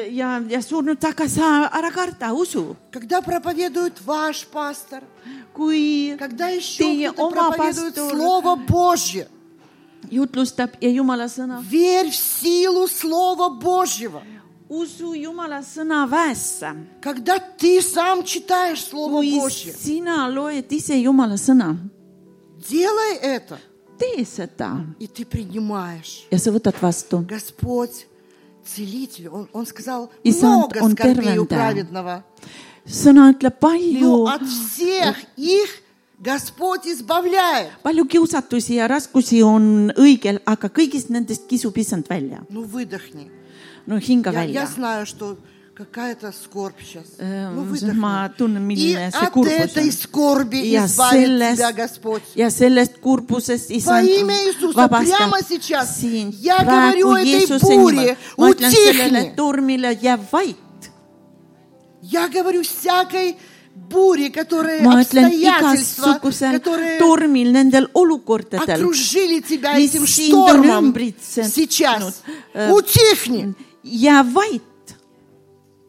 ja , ja surnud taga sa ära karda , usu .
Когда проповедует ваш пастор,
kui
Когда еще
Ты
кто-то
ома
проповедует
пастор.
Слово Божье,
jutlustab ja Jumala sõna ,
верь в силу Слова Божьего.
usu Jumala sõna väesse .
Когда ты сам читаешь Слово
kui
Божье,
sina loed ise Jumala sõna ,
делай это,
tee seda
и ты принимаешь.
ja sa võtad vastu .
Господь, целитель, Он, он сказал,
И сам
много
он
скорбей у
первым, да.
праведного,
sõna ütleb palju
но Ну, от всех
э,
их Господь избавляет.
palju kiusatusi ja raskusi on õigel , aga kõigist nendest kisub issand välja .
Ну, выдохни.
no hinga
Я,
välja
я . знаю, что какая-то скорбь сейчас.
Эм,
Ну,
ма, тун,
выдохни. И
милина, если
от
корпусом.
этой скорби
ja
избавит
sellest
тебя Господь.
ja sellest kurbusest
Во
issand
имя Иисуса
vabastab
прямо сейчас
siin
я
praegu
говорю этой
Jeesuse nimel
буре, .
ma ütlen sellele
утихни.
tormile , jääb vait .
Я говорю всякой буре, которые
ma ütlen
обстоятельства,
igasugusel
которые
tormil , nendel olukordadel ,
окружили тебя
Весь
этим
син дон
штормом
ümbritsен-
сейчас.
ну, э,
Утихни.
jääb vait .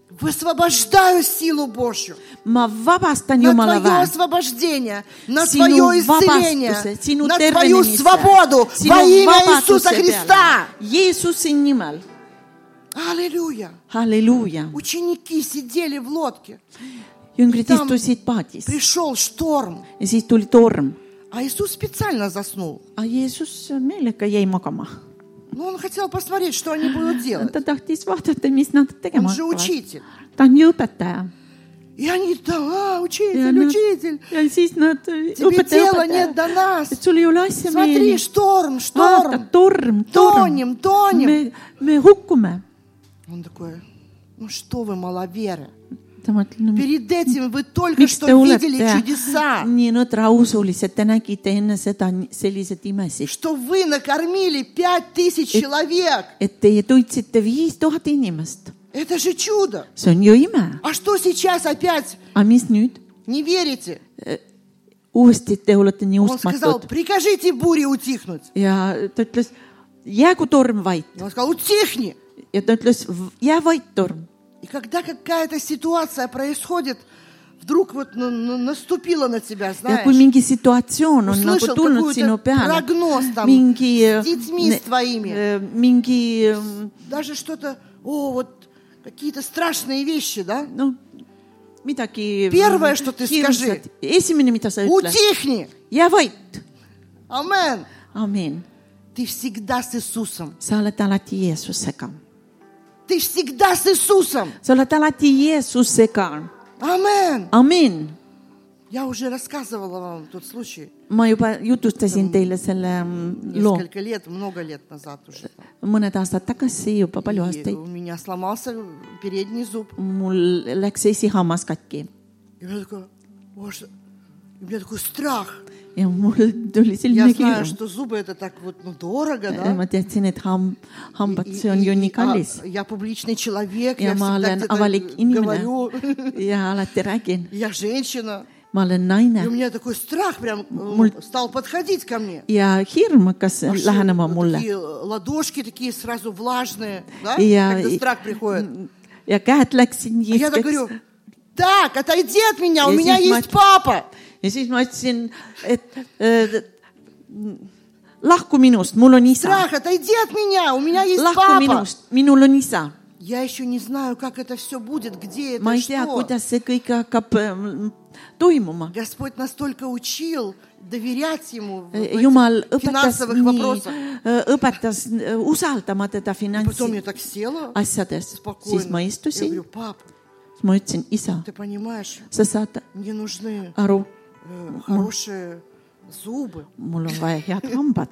Высвобождаю силу Божью
ma vabastan
на
Jumala
твое
väe
освобождение, на
Sinu
твое
vabastuse,
исцеление,
sinu
на твою
tervenemise,
свободу
sinu
во имя
vabaduse
Иисуса Христа.
peale. Jeesuse nimel ,
Аллилуйя.
halleluuja .
Ученики сидели в лодке.
jüngrid
Ja tam-
istusid paadis
Пришел шторм,
ja siis tuli torm ,
а Иисус специально заснул.
aga Jeesus meelega jäi magama .
Ну, он хотел посмотреть, что они будут делать.
ta tahtis vaadata , mis nad
Он
tegema
же
hakkavad .
учитель.
ta on ju õpetaja
И они, да, а,
ja
учитель,
nad
учитель, ,
ja siis nad ,
тебе
õpetaja ,
дела нет
õpetaja ,
до нас.
et sul ei ole asja
Смотри,
meile .
шторм,
vaata
шторм, ,
torm , torm ,
тонем, тонем.
me , me hukkume .
Он такой, ну что вы, маловеры,
ta mõtleb , no
перед этим вы только
miks
что
te
видели
olete
чудеса,
nii nõdrausulised , te nägite enne seda nii- selliseid imesid ,
что вы накормили пять тысяч человек.
et teie toitsite viis tuhat inimest ,
Это же чудо.
see on ju ime .
А что сейчас опять
aga mis nüüd ?
не верите?
uuesti te olete nii
Он сказал,
uskmatud
прикажите буре утихнуть.
ja ta ütles , jäägu torm vait
И он сказал, утихни.
ja ta ütles , jää vait torm .
И когда какая-то ситуация происходит, вдруг вот на- на- наступила на тебя,
ja kui
знаешь,
mingi situatsioon on
Услышал
nagu tulnud
какую-то
sinu peale
прогноз там ,
mingi
с , детьми с твоими.
mingi äh,
даже что-то, о, вот какие-то страшные вещи, да?
noh , midagi .
Первое, что ты скажи. .
esimene , mida sa ütled ,
Утихни!
jää vait .
Амен!
amin ,
Ты всегда с Иисусом.
sa oled alati Jeesusega ,
Ты всегда с Иисусом.
sa oled alati Jeesusega ,
Амен!
amin .
Я уже рассказывала вам тот случай
ma juba jutustasin teile selle mm, loo
несколько лет, много лет назад уже.
mõned aastad tagasi , juba palju
И
aastaid
у меня сломался передний зуб.
mul läks esihammas katki
И я такой, «О, что?» И у меня такой страх.
ja mul tuli
Я
silme
знаю,
kirju .
что зубы это так вот, ну, дорого, да?
ma teadsin , et hamb , hambad ,
И-
see on
и-
ju
и-
nii kallis
а, я публичный человек,
ja
я всегда
ma olen avalik
где-то говорю,
inimene ja alati räägin ,
я женщина.
ma olen naine
И у меня такой страх прям э, стал подходить ко мне.
ja hirm hakkas
А что,
lähenema
вот
mulle
Такие ладошки такие сразу влажные, да?
ja
Когда страх приходит.
ja käed läksid
А я так
niiskeks
говорю, так, отойди от меня, у
Если
меня есть
мать-
папа.
ja siis ma ütlesin , et äh, lahku minust , mul on isa ,
Страх, отойди от меня, у меня есть
lahku
папа.
minust , minul on isa .
Я еще не знаю, как это все будет, где это,
ma ei tea ,
что.
kuidas see kõik hakkab ähm, toimuma .
Господь настолько учил доверять Ему
Э,
в этих
jumal õpetas
финансовых вопросах.
nii , õpetas äh, usaldama teda
Потом я так
finantsasjades .
села
siis
спокойно.
ma
Я
istusin
говорю, , папа,
siis ma ütlesin , isa ,
ты понимаешь,
sa saad
мне нужны
aru ,
э, хорошие зубы.
mul on vaja head hambad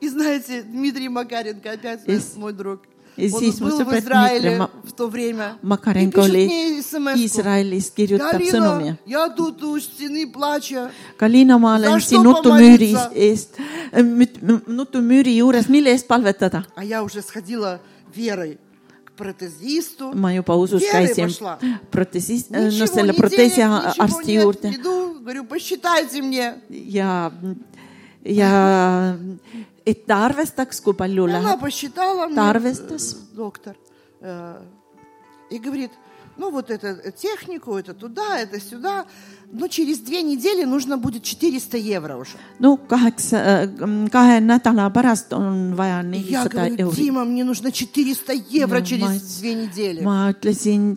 И знаете, Дмитрий Макаренко опять
И
наш
с-
мой друг.
и
Он
здесь мы
был в
опять Дмитрий
Израиле
Ма-
в то время. И
Makarenko
пишет
oli
мне смс
Iisraelist , kirjutab
Галина, .
sõnumi
я тут у стены плача.
Kalina , ma olen
Zašto
siin
pa
nutumüüri
molitsa?
eest , nutumüüri juures , mille eest palvetada ?
А я уже сходила верой к протезисту.
ma juba usus
Верой
käisin
пошла.
protsessis ,
Ничего,
no selle
ни
protsessi
денег,
a-
ничего
arsti
нет,
juurde
Иду, говорю, посчитайте мне.
ja , ja et ta arvestaks , kui palju
Она
läheb .
посчитала мне,
Тарвестас.
э, доктор, э, и говорит, ну вот это технику, это туда, это сюда, но через две недели нужно будет 400 евро уже.
no kaheksa , kahe nädala pärast on vaja
И я
nelisada
говорю,
euri .
Дима, мне нужно 400 евро
Ну,
через
мать,
две недели.
ma ütlesin ,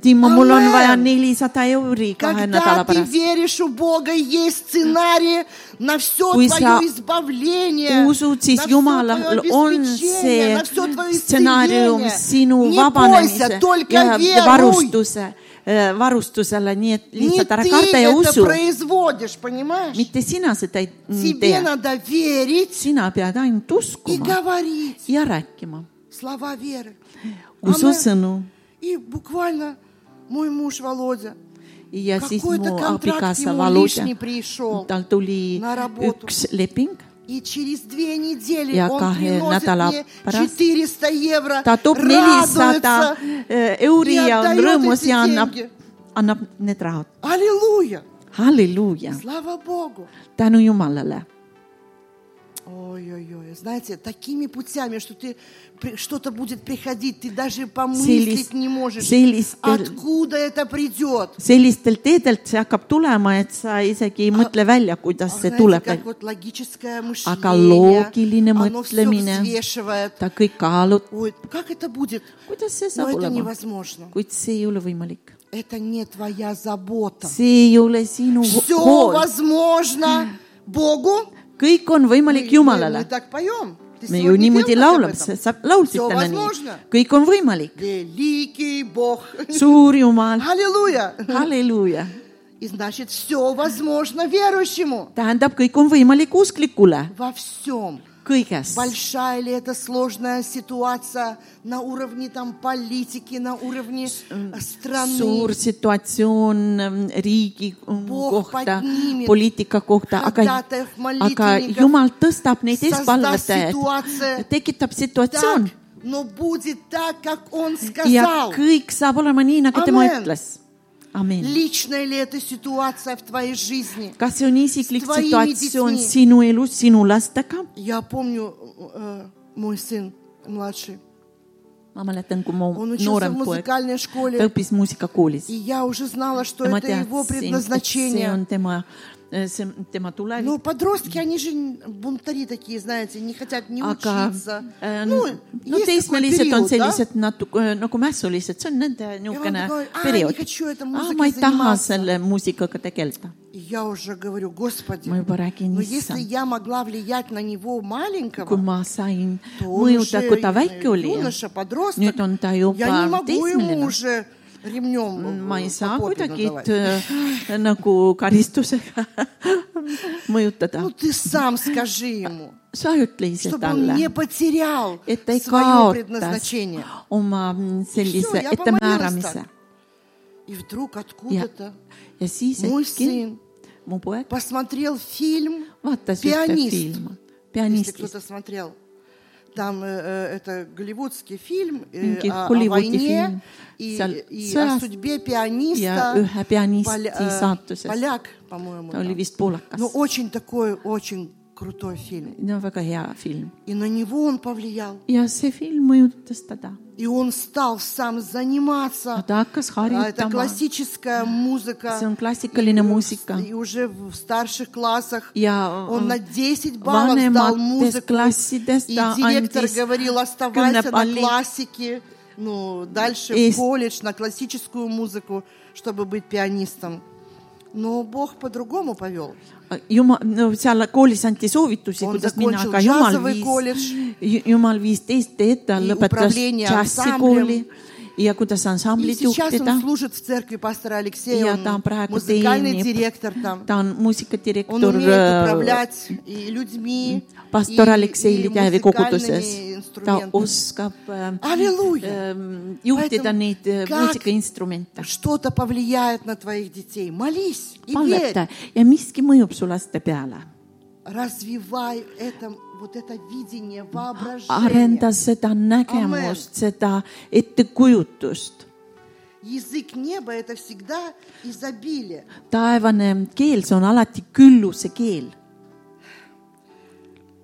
Timo , mul on
Amen.
vaja nelisada euri
Когда
kahe nädala
ты
pärast .
веришь, у Бога есть сценарий на все
Kui sa
твое избавление,
usud , siis
на всё
Jumalal
твоё
on
обеспечение,
see
на все твое
stsenaarium sinu
Не
vabanemise
бойся, только
ja, ja e,
веруй.
varustuse , varustusele , nii et
Не
lihtsalt ära
ты
karda ja
это
usu ,
производишь, понимаешь?
mitte sina seda ei
Тебе
tee ,
надо верить
sina pead ainult
и
uskuma
говорить
ja rääkima
слова веры. Амен.
ususõnu
И bukvalно мой муж Володя,
ja siis
Какой-то
mu
контракт
abikaasa
ему
Valutja
лишний пришел ,
tal tuli
на работу.
üks leping ,
и через две недели
Я
он
кахе
приносит
надала
мне
раз.
400 евро,
ta toob nelisada e,
радуется.
euri
ja
ja on
dajad
rõõmus
Eesti
ja annab
tingi. ,
annab need rahad .
Аллилуйя!
halleluuja ,
Слава Богу!
tänu Jumalale
Ой-ой-ой, знаете, такими путями, что ты при- что-то будет приходить, ты даже помыслить
Селис-
не можешь,
селистер-
откуда это придет.
sellistel teedelt see hakkab tulema , et sa isegi ei mõtle välja ,
А
kuidas see
знаете,
tuleb
как . вот логическое
А
мышление,
логиline
оно все
mõtlemine.
взвешивает.
ta kõik kaalub ,
Ой, как это будет?
kuidas see
Но
saab
это
olema ,
невозможно.
kuid see ei ole võimalik .
это не твоя забота.
see ei ole sinu
Все
hool ,
возможно Богу.
kõik on
Мы,
võimalik
мы- мы
Jumalale .
так поем. Ты
me
сегодня
ju
пел
niimoodi
так об
laulame ,
этом?
sa laulsid
Всё
täna
возможно.
nii , kõik on võimalik .
Великий Бог.
suur Jumal ,
Аллилуйя.
halleluuja ,
И значит, все возможно верующему.
tähendab , kõik on võimalik usklikule
Во всем.
kõiges .
Большая ли это сложная ситуация на уровне там политики, на уровне э,
suur
страны?
situatsioon ähm, riigi ähm,
Бог
kohta
поднимет ,
poliitika kohta , aga
ходатаев, ,
aga
молитвенников,
Jumal tõstab neid
sazdas situatsioon.
eespalvatajaid , tekitab situatsioon
Так, но будет так, как он
ja
сказал.
kõik saab olema nii , nagu tema
Amen.
ütles . amin .
Личная ли это ситуация в твоей жизни?
kas see on isiklik
С твоими
situatsioon
детьми.
sinu elus , sinu lastega ?
Я помню, э, мой сын младший,
ma mäletan , kui mu
он учился в
noorem poeg ,
музыкальной
ta
šколе,
õppis muusikakoolis
и я уже знала, что
ja ma
это его
teadsin , et see on
предназначение.
tema , see on tema tulevik .
Но подростки, они же бунтари такие, знаете, не хотят не
aga
учиться.
äh,
Ну,
no
есть такой
teismelised
период, да?
on sellised natuke äh, nagu mässulised , see on nende niisugune
такой, "Aa,
periood Ah,
nii «А, хочу эта . muusikaga
ma ei taha
заниматься."
selle muusikaga tegeleda .
И я уже говорю, Господи,
ma juba räägin
но , если
issand ,
я могла влиять на него маленького,
kui ma sain
то он
mõjuda ,
уже
kui ta väike oli ,
юноша, подросток,
nüüd on ta
я
juba
не могу ему
teismeline ,
уже ремнем э,
ma ei saa kuidagi
давать.
äh, nagu karistusega mõjutada
Ну . ты сам скажи ему,
sa ütle ise
чтобы он
talle
не потерял
et ta ei
свое
kaotas
предназначение.
oma mm, sellise
ja pomaliirust
ettemääramise
tak. И вдруг
ja
откуда-то ,
ja siis
Mu
äkki
sin-
mu poeg
посмотрел фильм,
vaatas ühte
«Пианист».
filmi ,
если
pianistist ,
кто-то смотрел. Там э, э, это голливудский фильм э,
Минки,
о, о
Холливуд и фильм.
войне и,
Сал-
и
Сас-
о судьбе пианиста.
ja ühe pianisti
поля- э,
saatuses ,
поляк, по-моему.
ta oli
там.
vist poolakas
Но очень такой, очень крутой фильм.
no väga hea film
И на него он повлиял.
ja see film mõjutas teda ,
И он стал сам заниматься.
ta hakkas
А, Это
harjutama ,
классическая музыка.
see on klassikaline muusika
И уже в старших классах
ja äh,
он на 10 баллов сдал
vanemates
музыку.
klassides
И
ta
директор
andis
говорил,
kümne
оставайся на
palli
классике, ну, дальше
Eest-
в колледж, на классическую музыку, чтобы быть пианистом. Но Бог по-другому повел.
Äh, jumal , no seal koolis anti soovitusi ,
On
kuidas minna ,
закончил
aga jumal
džäsovõi
viis
kolledž. ,
jumal viis teist teed , ta
И
lõpetas
управление
džässikooli ja kuidas
И
ansamblit
сейчас
juhtida
он служит в церкви пастора Алексея,
ja ta
он
praegu
музыкальный
teenib
директор , там. э,
ta on
Он
muusikadirektor äh,
умеет управлять и людьми,
pastor Aleksei
и, и
Lidjäevi koguduses
музыкальными ,
ta
инструментами.
oskab äh,
Аллилуйя!
ähm, juhtida
Поэтому
neid äh,
как-
muusikainstrumente .
Что-то повлияет на твоих детей. Молись и верь.
palveta ja miski mõjub su laste peale ,
развивай это, вот это видение, воображение.
arenda seda nägemust , seda ettekujutust
Язык неба – это всегда изобилие.
taevane keel , see on alati külluse keel .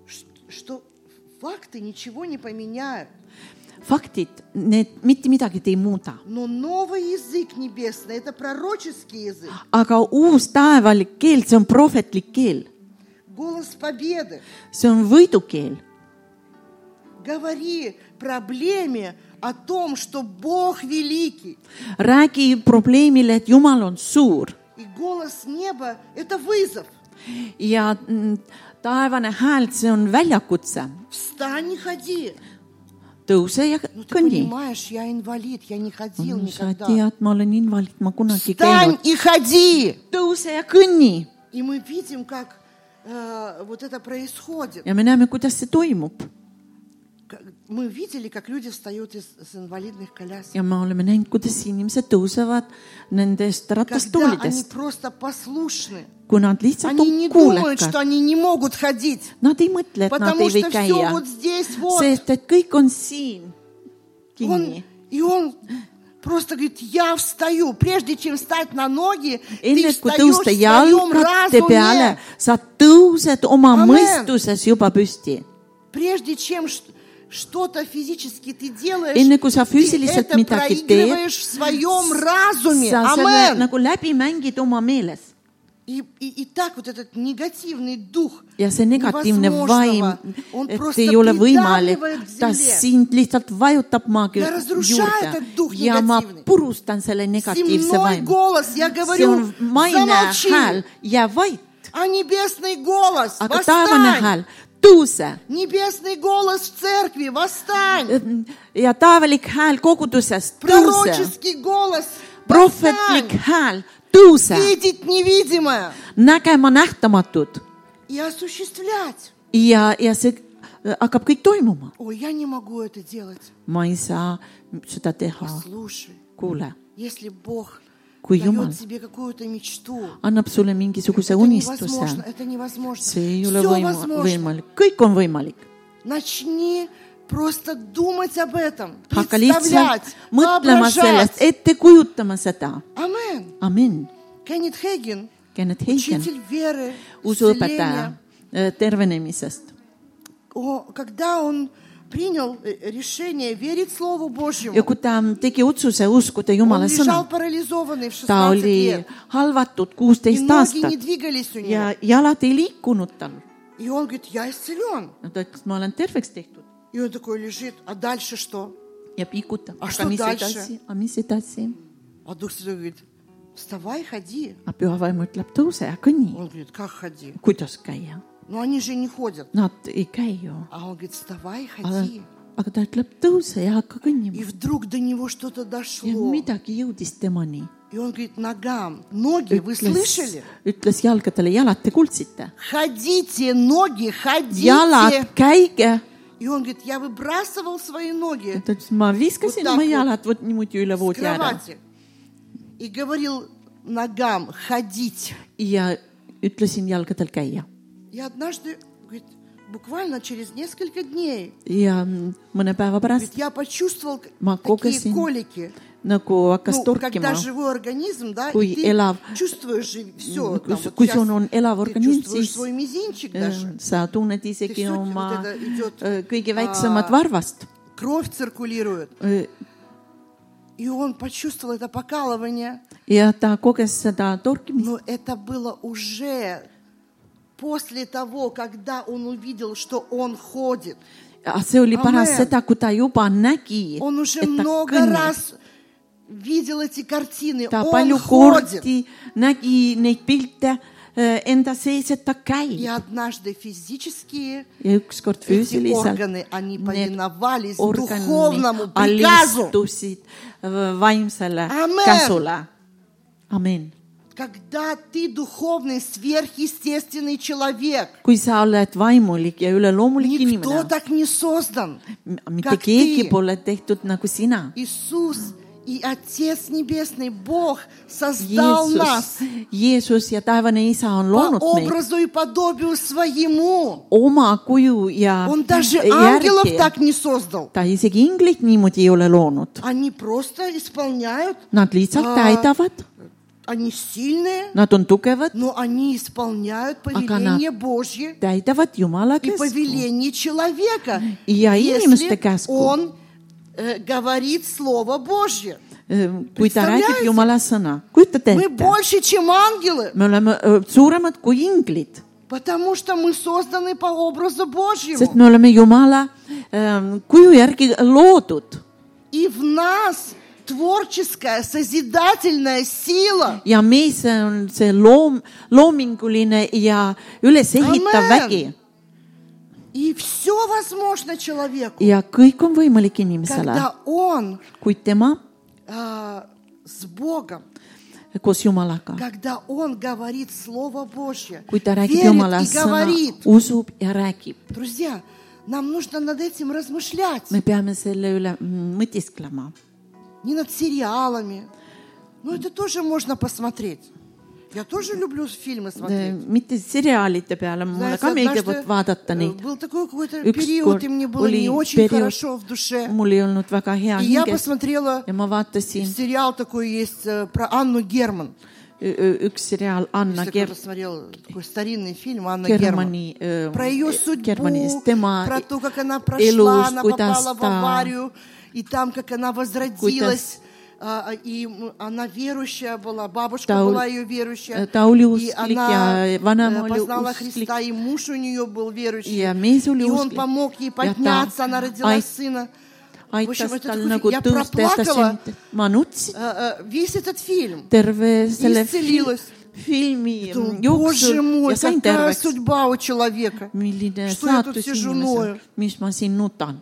Ш- Что факты ничего не поменяют,
faktid , need mitte midagi ei muuda ,
но новый язык небесный – это пророческий язык,
aga uus taevalik keel , see on prohvetlik keel ,
голос победы.
see on võidukeel .
Говори проблеме о том, что Бог великий.
räägi probleemile , et Jumal on suur
И голос неба – это вызов.
ja mm, taevane hääl , see on väljakutse .
Встань и ходи.
tõuse ja
Ну, ты
kõnni .
понимаешь, я инвалид, я не ходил
sa
никогда.
tead , ma olen invaliid , ma kunagi ei
Встань
käinud .
и ходи.
tõuse ja kõnni
И мы видим, как э, вот это происходит.
ja me näeme , kuidas see toimub
Как- Мы видели, как люди встают из, с invalidных колясок.
ja me oleme näinud , kuidas inimesed tõusevad nendest
Когда они
ratastoolidest .
просто послушны.
kui nad lihtsalt
Они не
on
думают, что
kuulekad ,
они не могут ходить.
nad ei mõtle , et nad
Потому
ei või
что все
käia ,
вот здесь, вот.
sest et kõik on siin kinni
Он, . и он просто говорит, я встаю. Прежде чем встать на ноги, ты
enne kui
встаешь в
tõusta
своем
jalgratte peale
разуме. ,
sa tõused oma
Amen.
mõistuses juba püsti .
Прежде чем ш- что-то физически ты делаешь,
Enne, kui sa
ты
füüsiliselt
это
midagi teed,
проигрываешь в своем разуме.
sa selle
Амен.
nagu läbi mängid oma meeles .
И, и, и так вот этот негативный дух
ja see negatiivne vaim
невозможного, он ,
et
просто
ei ole võimalik
придавливает к ,
ta
земле.
sind lihtsalt vajutab maagi
Ja разрушает этот дуh
juurde ja ma
negatiivne.
purustan selle negatiivse
Земной
vaimu .
голос, я
see on
говорю,
maine hääl
замолчи, ,
jää vait ,
а небесный голос,
aga taevane
восстань.
hääl , tõuse
Небесный голос в церкви, восстань.
ja taevalik hääl koguduses , tõuse ,
Пророческий голос,
prohvetlik
восстань.
hääl , tõuse ,
Видеть невидимое
nägema nähtamatud
и осуществлять.
ja , ja see äh, hakkab kõik toimuma .
Ой, я не могу это делать.
ma ei saa seda teha ,
А. Слушай,
kuule
если Бог
Kui Jumal
дает тебе какую-то мечту,
annab sulle mingisuguse
это
unistuse
невозможно, это невозможно.
see ei ole
Всё
võima-
возможно.
võimalik , kõik on võimalik .
Начни просто думать об этом,
hakka lihtsalt
представлять,
mõtlema sellest ,
воображать.
ette kujutama seda .
Амен.
amin .
Кеннет Хейген,
Kenneth Hagen ,
учитель веры,
usuõpetaja
исцеления.
äh, tervenemisest .
О, когда он принял э, решение верить Слову
ja
Божьему,
kui ta tegi otsuse uskuda
он
Jumala
лежал
sõna ,
парализованный в
ta
16
oli
лет.
halvatud
И
kuusteist
ноги не
aastat
двигались у него.
ja jalad ei liikunud tal .
И он говорит, я исцелен.
no ta ütles , ma olen terveks tehtud
И он такой лежит, а дальше что?
ja piikutab .
Ah,
aga
što
mis
dalše?
edasi , aga mis edasi ?
А Дух Святой говорит, вставай, ходи.
aga püha vaim ütleb , tõuse ja kõnni .
Он говорит, как ходи?
kuidas käia ?
Но они же не ходят.
Nad ei käi ju
А он говорит, вставай,
aga
ходи. ,
aga ta ütleb , tõuse ja hakka
И
kõnnima .
вдруг до него что-то дошло.
ja midagi jõudis temani .
И он говорит, ногам, ноги,
Э,
вы
ütles
слышали? ,
ütles jalgadele , jalad , te kuulsite ?
Ходите, ноги, ходите.
jalad , käige .
И он говорит, я выбрасывал свои ноги
ta ütles , ma viskasin
Vot
oma
tak-
jalad vot niimoodi üle
с
voodi ära
кровати. И говорил ногам, ходить.
ja ütlesin jalgadel käia .
И однажды, говорит, буквально через несколько дней,
ja mõne päeva
говорит,
pärast
я почувствовал к-
Макока
такие
син.
колики.
nagu hakkas
Ну,
torkima
когда , живой организм, да,
Kui
и ты
elav-
чувствуешь все.
Kui su- kui sul on elav
ты
organism,
чувствуешь
siis-
свой мизинчик
Э.
даже.
Äh, sa tunned isegi
Te sotsid,
oma
et ta idiot-
äh, kõige väiksemat varvast . Äh,
Кровь циркулирует. И он почувствовал это покалывание.
ja ta koges seda torkimist ,
Но это было уже после того, когда он увидел, что он ходит.
Ah, see oli pärast
Amen.
seda , kui ta juba nägi ,
Он уже
et ta
много
kõnnib .
раз видел эти картины.
ta
Он
palju
ходит.
kordi nägi neid pilte äh, enda sees , et ta käib
И
ja,
однажды физические
ja ükskord
эти
füüsiliselt
органы, они
need
повиновались духовному
organid
приказу.
alistusid äh, vaimsele
Amen.
käsule . amin .
Когда ты духовный, сверхъестественный человек,
kui sa oled vaimulik ja üleloomulik
никто
inimene ,
так не создан.
mitte
как
keegi
ты.
pole tehtud nagu sina .
Иисус и Отец Небесный, Бог, создал
Jeesus
нас ,
Jeesus ja taevane isa on
по
loonud meid
образу и подобию своему.
oma kuju ja
Он даже
э,
ангелов
järgi .
так не создал.
ta isegi inglit niimoodi ei ole loonud ,
Они просто исполняют,
nad lihtsalt
Aa.
täidavad
они сильные,
Nad on tugevad ,
но они исполняют повеление Божье
täidavad Jumala
и
käsku
повеление человека,
ja inimeste
если
käsku ,
он э, говорит Слово Божье.
kui ta
Представляете?
räägib Jumala sõna . kujutate
Мы
ette ,
больше, чем ангелы,
me oleme öö, suuremad kui inglid ,
потому что мы созданы по образу
sest
Божьему.
me oleme Jumala öö, kuju järgi loodud
И в нас творческая, созидательная сила.
ja meis on see loom , loominguline ja üles ehitav
Amen.
vägi
И все возможно человеку,
ja kõik on võimalik inimesele ,
когда он
kuid tema
а, с Богом,
koos Jumalaga ,
когда он говорит Слово Божье,
kui ta räägib Jumala
верит и
sõna
говорит. ,
usub ja räägib .
Друзья, нам нужно над этим размышлять,
me peame selle üle mm, mõtisklema
не над сериалами. Ну, это тоже можно посмотреть. Я тоже люблю фильмы смотреть.
Äh, mitte seriaalide peale , mulle
Знаете,
ka meeldib
однажды,
vaadata
э,
neid .
Был такой какой-то период,
ükskord
и мне было
oli
не очень хорошо в
periood ,
душе.
mul ei olnud väga hea
И я
hinges
посмотрела
ja ma vaatasin
сериал такой есть э, про Анну Герман.
ü- ü- üks seriaal Anna
Если
Ger-
кто-то смотрел такой старинный фильм Анна Герман.
Germani ,
Про
Э,
ее судьбу,
Germanis , tema
про то, как она
elus
прошла, она ,
kuidas
попала в
ta ,
аварию, и там, как она
kuidas
возродилась, а, а, и м, она верующая была, бабушка
Та у-
была ее верующая.
э, та у Лиус
и
Кликя,
она
э, ванам
э,
у
познала
Лиус
Христа, и муж у нее был верующий.
ja mees oli
И он
usklik
помог ей
ja
подняться, она
ta
родила
ait-
сына. В общем,
aitas
это
tal
такой-
nagu
я
tõusta ja ta
проплакала
sünd- ma nutsin
э, э, весь этот фильм.
terve selle
исцелилась.
fi- filmi
Думаю, Боже
jooksul
мой,
ja sain
какая
terveks
судьба у человека.
milline
Что я тут
saatus
сижу
inimesel
ною?
mis ma siin nutan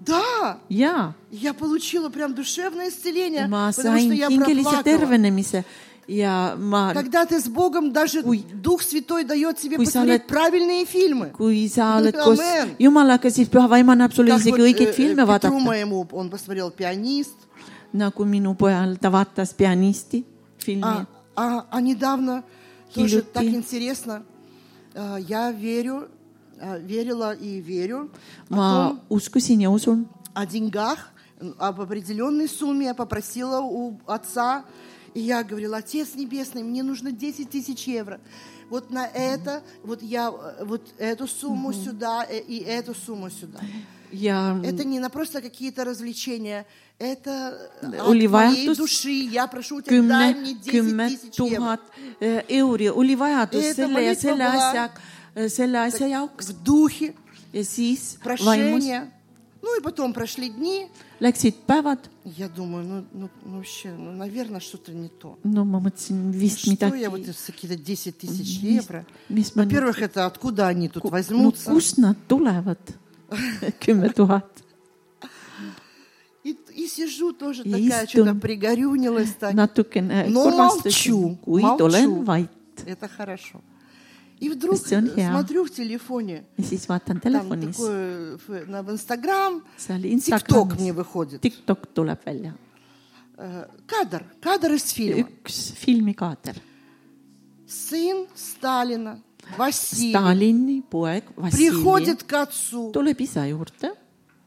Да,
jaa
я получила прям душевное исцеление,
ma
потому что
sain
я
hingelise
проплакала.
tervenemise ja ma
Когда ты с Богом, даже
Ой.
Дух Святой дает тебе
Ой, sa
посмотреть
oled-
правильные фильмы.
kui sa oled koos
Amen.
Jumalaga siis püha vaim annab sulle
Как вот,
isegi
э,
õigeid
э,
filme
Петру
vaadata
моему, он посмотрел «Пианист»,
nagu minu pojal ta vaatas pianisti filmi
А, а- а недавно тоже
Или
так
ты.
интересно. Э, Я верю, э, верила и верю А о
ma
том,
uskusin ja usun
о деньгах, м, об определенной сумме я попросила у отца. И я говорила, отец небесный, мне нужно 10 тысяч евро. Вот на это, вот я э, вот эту сумму сюда э, и эту сумму сюда.
ja
Это не на просто какие-то развлечения, это э, от
Oli
моей
vajadus
duşi. Я прошу тебя, дай
kümne
мне 10
kümme
тысяч евро.
tuhat eh, euri oli vajadus
Eeta
selle ja
molitva
selle
pole.
asja , selle asja jaoks
В духе,
ja siis vaimus
прошения. Ну и потом прошли дни.
läksid päevad ,
Я думаю, ну, ну, ну вообще, ну, наверное, что-то не то.
no ma mõtlesin vist
Что я вот
midagi ,
с- какие-то 10 тысяч
Есть.
евро?
mis ma nüüd ,
Во-первых, это откуда они тут
no
возьмутся?
kust nad tulevad ? kümme tuhat ,
И, и сижу тоже
И
такая,
истун.
что-то пригорюнилась так.
natukene
No
kurvastasin
молчу, ,
kuid
молчу.
olen vait
Это хорошо. И вдруг э,
Всё, я.
смотрю в телефоне,
ja siis
там
vaatan telefonis ,
такое, ф- на- в Инстаграм,
seal
ТикТок мне
Instagramis ,
выходит.
Tiktok tuleb välja ,
Э, Кадр, кадр из фильма.
üks filmikaader ,
Сын Сталина, Василий,
Stalini poeg Vassili
приходит к отцу.
tuleb isa juurde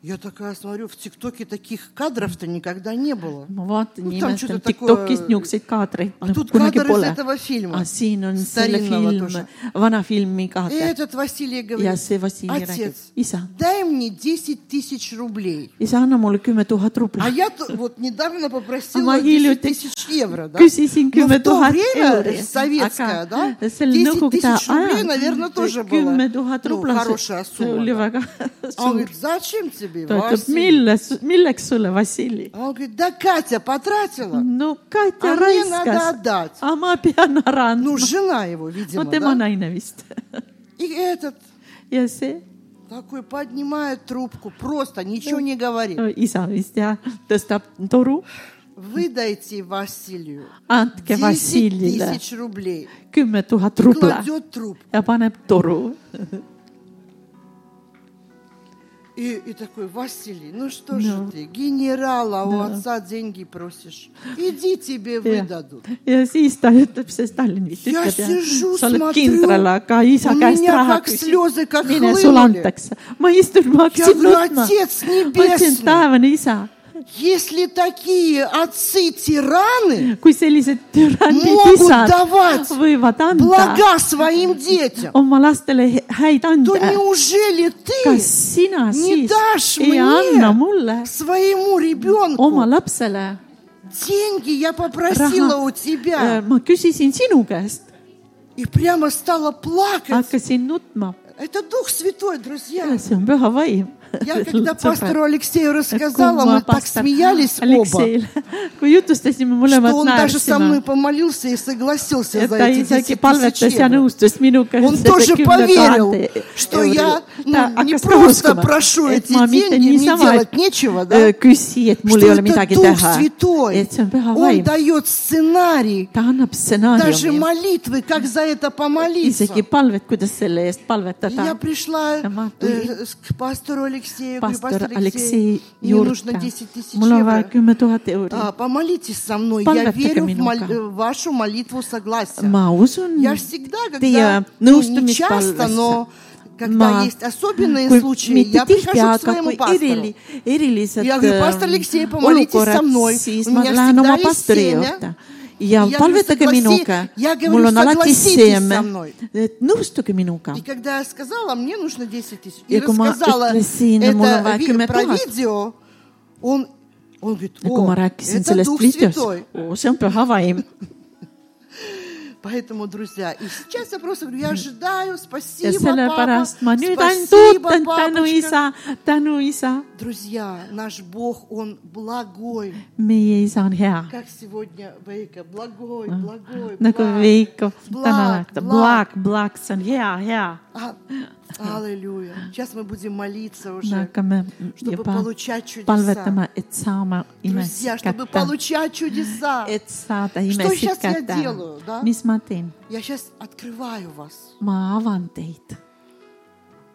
Я такая смотрю, в ТикТоке таких кадров-то никогда не было.
ma vaatan
Ну,
no,
там
imestan
что-то такое-
Tiktokist niisuguseid kaadreid
А тут
kunagi
кадр из
pole .
этого фильма.
aga siin on selle
Starinova
film
тоже. ,
vana filmi
И
kaader
этот Василий говорит,
ja see Vassili räägib
отец, ,
isa ,
дай мне 10 тысяч рублей.
isa anna mulle kümme tuhat
А
rubla .
я т- вот недавно
А
попросила
могилю
10
ты-
тысяч евро, да?
küsisin
Но
kümme
в то
tuhat
время
euri ,
советское, да?
sel
10
nõukogude
тысяч рублей,
ajal
naверное, тоже
kümme
было
tuhat
ну,
rubla ,
хорошая
see oli
сумма. да.
väga
А он
suur
говорит, зачем тебе,
ta ütleb ,
Василий?
milles , milleks sulle Vassili ?
А он говорит, да Катя потратила. а
no Katja
Aga mine näda
raiskas
dad. ,
aga ma pean ära
Ну,
andma ,
жена его,
no
видимо,
tema
да?
naine vist
И этот
ja see
такой поднимает трубку, просто ничего не говорит.
no, isa vist jah , tõstab toru ,
Выдайте Василию
andke
10
Vassilile
тысяч рублей.
kümme tuhat rubla
Кладет труп.
ja paneb toru .
И, и такой, Василий, ну что же
Да.
ты, генерала у отца деньги просишь. Иди тебе выдадут.
ja siis ta ütleb , see Stalin vist
Я
ütleb
сижу,
sa oled
смотрю,
kindral , aga isa
у
käest
меня
raha
как слезы
küsib
как ,
mine sulle
хлынули.
antakse . ma istun , ma
Я
hakkasin
говорю,
nutma ,
отец
ma ütlesin ,
небесный,
taevane isa ,
если такие отцы-тираны
kui sellised türannid
Могут давать
isad võivad anda
блага своим детям,
oma lastele he- häid
то
ande ,
неужели ты
kas sina
не
siis
дашь
ei anna
мне,
mulle
своему
oma
ребенку,
lapsele
деньги я попросила у тебя?
Äh, ma küsisin sinu käest ,
И прямо стала плакать.
hakkasin nutma ,
Это Дух Святой, друзья.
see on püha vaim .
Я когда пастору Алексею рассказала, мы так смеялись оба,
Алексеile , kui jutustasime
что
mõlemad
он даже со
naersime
mной помолился и согласился за
ta
эти
isegi
10
palvetas
тысяч
ja
евро.
nõustus minuga .
Он тоже поверил, что я ну, не просто прошу эти деньги, мне делать нечего, да?
küsi , et mul
Что
ei ole
это
midagi
Дух
teha ,
Святой.
et see on püha
Он
vaim ,
дает сценарий,
ta annab
даже
stsenaariumi ,
молитвы, как за это помолиться.
isegi palvet , kuidas selle eest
И
palvetada
Я пришла
Сама
э, с- к пастору Алексею. говорю,
pastor
«Пастор
Aleksei
мне нужно
juurde
10 тысяч .
mul on vaja
евро.
kümme tuhat euri .
А, помолитесь со мной. Я
Палветеке
верю в
минутка.
мол- э, вашу молитву согласия.
ma usun
Я ж всегда,
teie
когда ну, не часто,
nõustumispalvesse
но . когда есть особенные случаи, я прихожу к своему пастору.
erili- , erilised
Ja kui
ähm,
pastor Aleksei pomolitis sa
olukorrad
mnoi, ,
siis
у
ma
меня
lähen
всегда
oma
есть
pastori
seemne.
juurde ja
Ja
palvetage
говорю, "Согласи-
minuga
ja , говорю,
mul on alati
"Согласитесь со
seeme
мной." ,
et nõustuge minuga
И когда я сказала, мне нужно 10 тысяч, и
Ja kui ma
рассказала
ütlesin, mul on
это
vaja
ви-
10
про
000.
видео, он, Он говорит,
ja kui
о,
ma rääkisin
это
sellest
Дух
videost
Святой. ,
see on püha vaim .
Поэтому, друзья, и сейчас я просто говорю, я ожидаю,
ja
спасибо, папа,
sellepärast ma nüüd ainult
спасибо,
ootan tänu
папочка.
isa , tänu isa .
Друзья, наш Бог, Он благой,
meie isa on hea ,
как сегодня Вейка, благой, благой,
nagu
благ.
Veiko
Blaag,
täna rääkida ,
blaag.
blaag , blaag , see on hea , hea .
А- Аллилуйя. Сейчас мы будем молиться
me
уже,
hakkame
чтобы
juba
получать чудеса.
palvetama , et saama
Друзья,
imesid
чтобы
kätte ,
получать чудеса.
et saada
сейчас
imesid
я
kätte
делаю, да? .
mis ma teen ?
Я сейчас открываю вас.
ma avan teid ,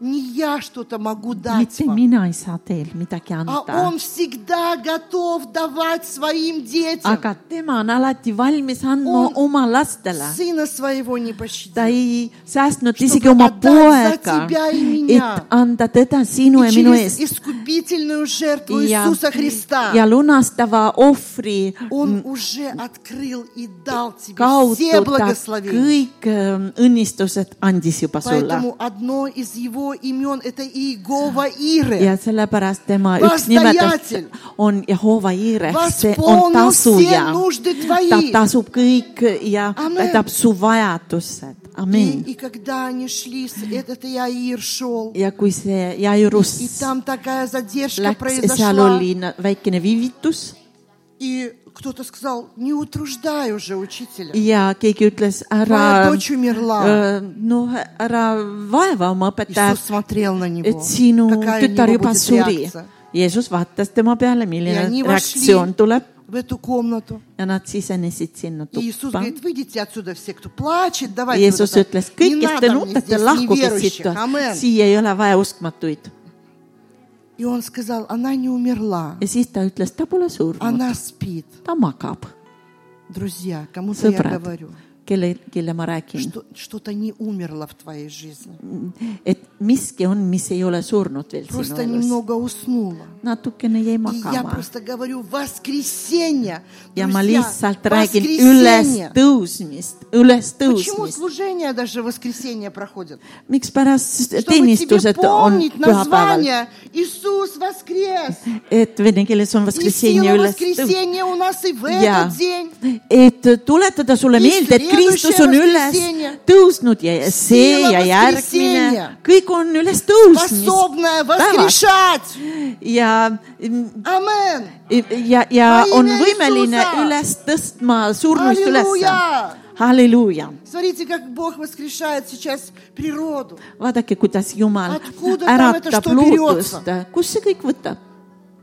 Не я что-то могу дать
mitte
вам,
mina ei saa teil midagi
а
anda ,
Он всегда готов давать своим детям.
aga tema on alati valmis andma
On-
oma lastele
Сына своего не
ta
пощадил.
ei säästnud isegi
Чтобы
oma
отдать за
poega
тебя , и меня.
et anda teda sinu ja
И
minu
через
eest
искупительную жертву
ja
Иисуса ,
ja
Христа
lunastava ohvri
Он уже открыл и дал тебе все
kaudu ta
благословения.
kõik ähm, õnnistused andis juba sulle
Поэтому одно из его имен это Иегова Иры.
ja sellepärast tema üks nimetus
Vastajatel.
on Jehova Iire , see on
Vaspoonu
tasuja
все . нужды
ta
твои.
tasub kõik ja ta
Amen.
tahab su vajadused , amin .
И, и когда они шли, с- этот Иаир шел,
ja kui see Jairus
и там такая задержка
läks , seal
произошла.
oli na- väikene viivitus
И кто-то сказал, не утруждай уже учителя.
ja keegi ütles ,
Моя
ära ,
дочь
э,
умерла.
noh , ära vaeva oma
Иисус
õpetajat ,
смотрел на
et
него.
sinu
Какая у
tütar
него
juba
будет
suri
реакция. .
Jeesus vaatas tema peale ,
Ja
milline
nii vašli.
reaktsioon tuleb
В эту комнату.
ja nad sisenesid sinna
И Иисус
tuppa .
говорит, выйдите отсюда все, кто плачет, давайте.
Jeesus
вот это.
ütles ,
Не
kõik , kes
надо
te
мне
nutate ,
здесь
lahkuge
неверующих.
siit ,
Амен.
siia ei ole vaja uskmatuid .
И он сказал, она не умерла,
ja siis ta ütles , ta pole surnud ,
она спит.
ta magab .
Друзья, кому-то я
sõbrad
говорю, ,
kelle , kelle ma räägin ,
что- что-то не умерло в твоей жизни.
et miski on , mis ei ole surnud veel sinu
Просто
elus .
немного уснула.
natukene jäi
И я
magama
просто говорю, воскресенье,
ja
друзья,
ma lihtsalt räägin
воскресенье.
ülestõusmist ,
Почему
ülestõusmist .
служения даже в воскресенье проходят?
mikspärast
Чтобы тебе
teenistused on
помнить
pühapäeval ,
название «Иисус воскрес!»
et vene keeles on
И
vaskressenje
сила
ülestõus
воскресения у нас и в
ja
этот день.
et tuletada sulle
Ja
meelde , et
следующее
Kristus on üles
воскресенье.
tõusnud ja ja see
Сила
ja järgmine
воскресенья. ,
kõik on ülestõusmist
Способная воскрешать.
ja ,
Амен.
ja , ja
Ma
on
imestan
võimeline
Jeesusa.
üles tõstma surnuist ülesse .
Аллилуйя.
halleluuja
Смотрите, как Бог воскрешает сейчас природу.
vaadake , kuidas Jumal
Откуда там это
äratab
что
loodust , kust see kõik võtab ,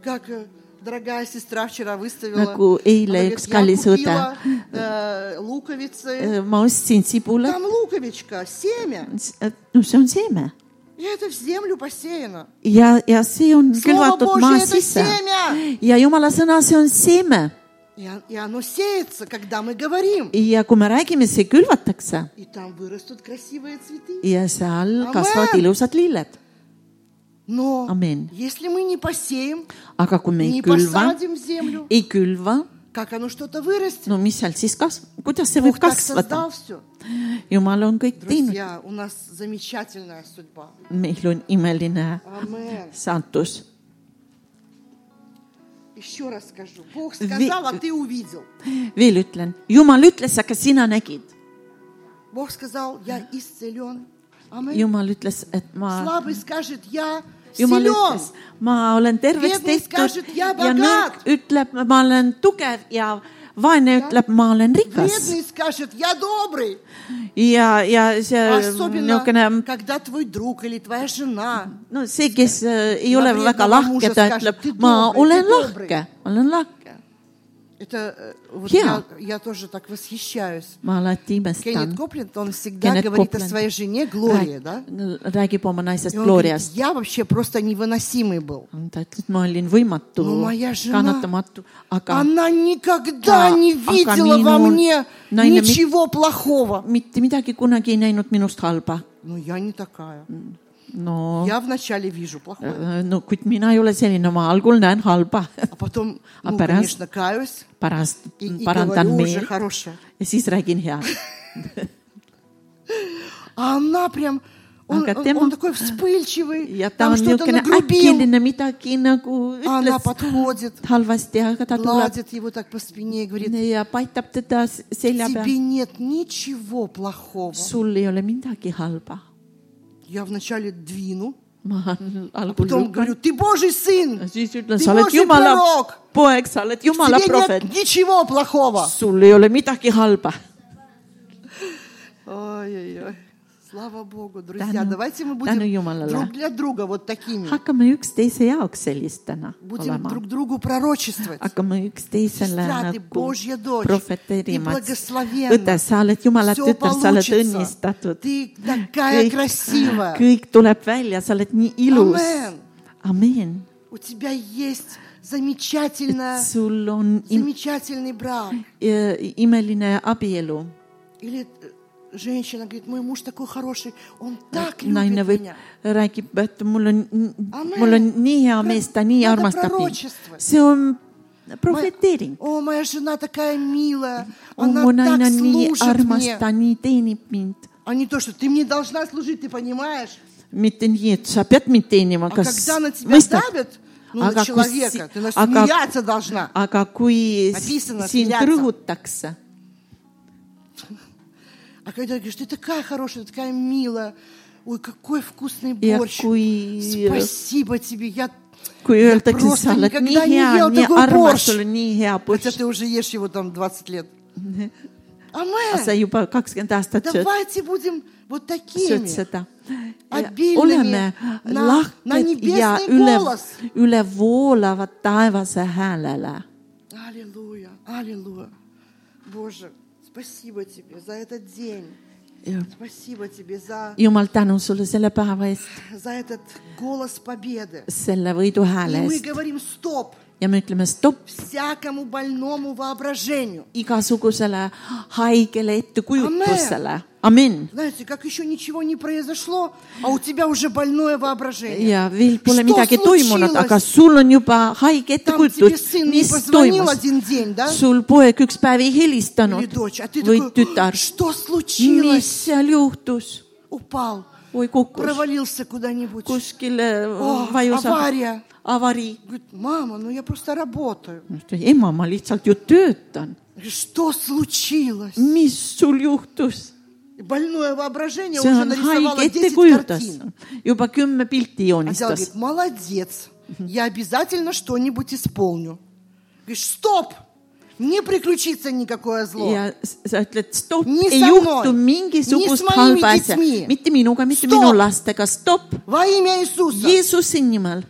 Как э, дорогая сестра вчера выставила.
nagu
Она
eile
говорит,
üks
я
kallis õde ,
купила, э, луковицы.
ma ostsin sibulat ,
Там lуковичка, семя.
no see on seeme
И это в землю посеяно.
ja , ja see on
Слово
külvatud
Божье
maa
это
sisse
семя.
ja Jumala sõna , see on seeme
И он- и оно сеется, когда мы говорим.
ja kui me räägime , see külvatakse
И там вырастут красивые цветы.
ja seal
Amen.
kasvavad ilusad lilled ,
Но
Аминь.
если мы не посеем,
aga kui me
не
ei külva ,
посадим в землю,
ei külva ,
как оно что-то вырастет?
no mis seal siis kasv- , kuidas see
Бог
võib
так
kasvada
создал , все.
Jumal on kõik teinud ,
Друзья, у нас замечательная судьба.
meil on imeline
Амен.
saatus
Еще раз скажу. Бог
Ви-
сказал, а ты увидел.
veel ütlen , Jumal ütles , aga sina nägid .
Бог сказал, я исцелен. Амен.
Jumal ütles , et ma ,
Слабый скажет, я
Jumal
силен.
ütles , ma olen terveks
Biedny
tehtud
скажет, "Я
ja
богат."
nõrk ütleb , ma olen tugev ja vaene ütleb , ma olen rikas
Вредный скажет, я добрый.
ja , ja see
Ah,
niisugune ,
Особенно, когда твой друг или твоя жена.
no see , kes äh, ei
Ma
ole
biedne
väga
oma
lahke
mužest ,
ta
кажет,
ütleb
"Ты ,
ma
добрый,
olen
ты добрый."
lahke , olen lahke .
Это э, вот
Я.
я, я тоже так восхищаюсь.
ma alati
Кеннет
imestan .
Копленд, он всегда
Кеннет
говорит о
Копленд.
своей жене Глории, да?
räägib oma naisest
И он говорит,
Gloriast .
я вообще просто невыносимый был.
ta ütles , ma olin võimatu
No ma ei , žena-
kannatamatu , aga
Она никогда
Да,
не
а
видела во
камин, он
мне
на инами-
ничего плохого.
mitte midagi kunagi ei näinud minust halba .
Ну, я не такая.
Ну. no ,
Я вначале вижу плохое,
Äh, no kuid mina ei ole selline , ma algul näen halba ,
а потом,
А
ну,
пора-
конечно, каюсь
pärast
и, и
parandan
говорю уже
meelt
хорошее.
ja siis räägin head .
А она прям, Он,
Aga
он-
tema-
он такой вспыльчивый,
ja ta
там
on
что-то
niisugune
нагрубил,
äkiline midagi nagu
а она
ütles
подходит,
halvasti , aga ta tuleb
гладит его так по спине и говорит,
ja paitab teda s- selja peal
тебе нет ничего плохого.
sul ei ole midagi halba .
Я вначале двину,
ma algul
потом
lükkan
говорю, ты Божий сын,
ja siis ütlen ,
ты
sa oled
Божий
jumala
пророк,
poeg , sa oled jumala
тебе
prohvet
нет , ничего плохого.
sul ei ole midagi halba .
Ой-ой-ой. Slava Bogu, друзья,
Tänu-
давайте мы
tänu
будем
Jumalale.
друг для друга вот такими.
hakkame üksteise jaoks sellistena
Будем
olema ,
друг другу пророчествовать.
hakkame üksteisele
Сестра, ты
nagu
Божья дочь, ты
prohveteerima ,
благословенна.
õde , sa oled Jumala
Всё
tütar , sa oled
получится.
õnnistatud .
Ты такая красивая.
kõik tuleb välja , sa oled nii ilus .
Amen.
amin .
У тебя есть замечательная,
sul on im
замечательный брак.
i- imeline abielu .
Или э, женщина говорит, мой муж такой хороший, он так
naine
любит
võib
меня. ,
räägib , et mul on ,
Amen.
mul on nii hea mees , ta nii
Надо
armastab mind
пророчествовать. .
see on
Моя-
prohveteering .
О, моя жена такая милая,
on
она
mu
так
naine nii
служит
armas , ta
мне.
nii teenib mind .
А не то, что ты мне должна служить, ты понимаешь?
mitte nii , et sa pead mind teenima ,
А
kas
когда на тебя
mõistad ?
давят, ну, на человека, ты на смеяться должна.
aga kui s-
Написано,
sind
смеяться.
rõhutakse ,
А когда говоришь, ты такая хорошая, ты такая милая, ой, какой вкусный
Я
борщ.
куи-
Спасибо тебе, я...
kui
я
öeldakse ,
просто
sa oled nii
никогда не
hea ,
ел
nii
такой
armas ,
борщ.
sul on nii hea
Хотя
buss ,
ты уже ешь его там 20 лет.
sa
Амен.
juba kakskümmend aastat sööd ,
Давайте будем вот
sööd
такими.
seda .
Abilnimi
oleme
na- na
lahked
nebesni
ja üle
golas. ,
üle voolavad taevase häälele
Аллилуйя, аллилуйя. Боже, спасибо тебе за этот день. Спасибо тебе за,
jumal tänu sulle selle päeva eest ,
за этот голос победы.
selle võiduhääle
И мы
eest
говорим стоп
ja me ütleme stopp
всякому больному воображению.
igasugusele haigele ettekujutusele , amin .
Знаете, как еще ничего не произошло, а у тебя уже больное воображение.
ja veel pole
Что
midagi toimunud ,
случилось?
aga sul on juba
Там тебе
haige ettekujutus ,
сын не
mis
позвонил
toimus .
один день, да?
sul poeg üks päev ei
Или
helistanud
дочь, а ты
või
такой,
tütar ,
что
mis
случилось?
seal juhtus ?
Упал,
oi kukkus ,
провалился куда-нибудь.
kuskile э,
Oh,
vajus
авария.
avarii .
Говорит, мама, ну я просто работаю.
ema , ma lihtsalt ju töötan .
Что случилось?
mis sul juhtus ?
Больное воображение
see
уже
on
нарисовало
haige
10
ettekujutus
картин. .
juba kümme pilti
А Зял
joonistas
говорит, молодец, я обязательно что-нибудь исполню. Говоришь, стоп, не приключится никакое зло.
ja s- sa ütled stopp ,
Nii
ei
sa
juhtu
noin.
mingisugust
Nii sa
halba
mingi
asja
tmi. ,
mitte minuga , mitte
Stopp.
minu lastega , stopp ,
Во имя Иисуса
Jeesuse nimel .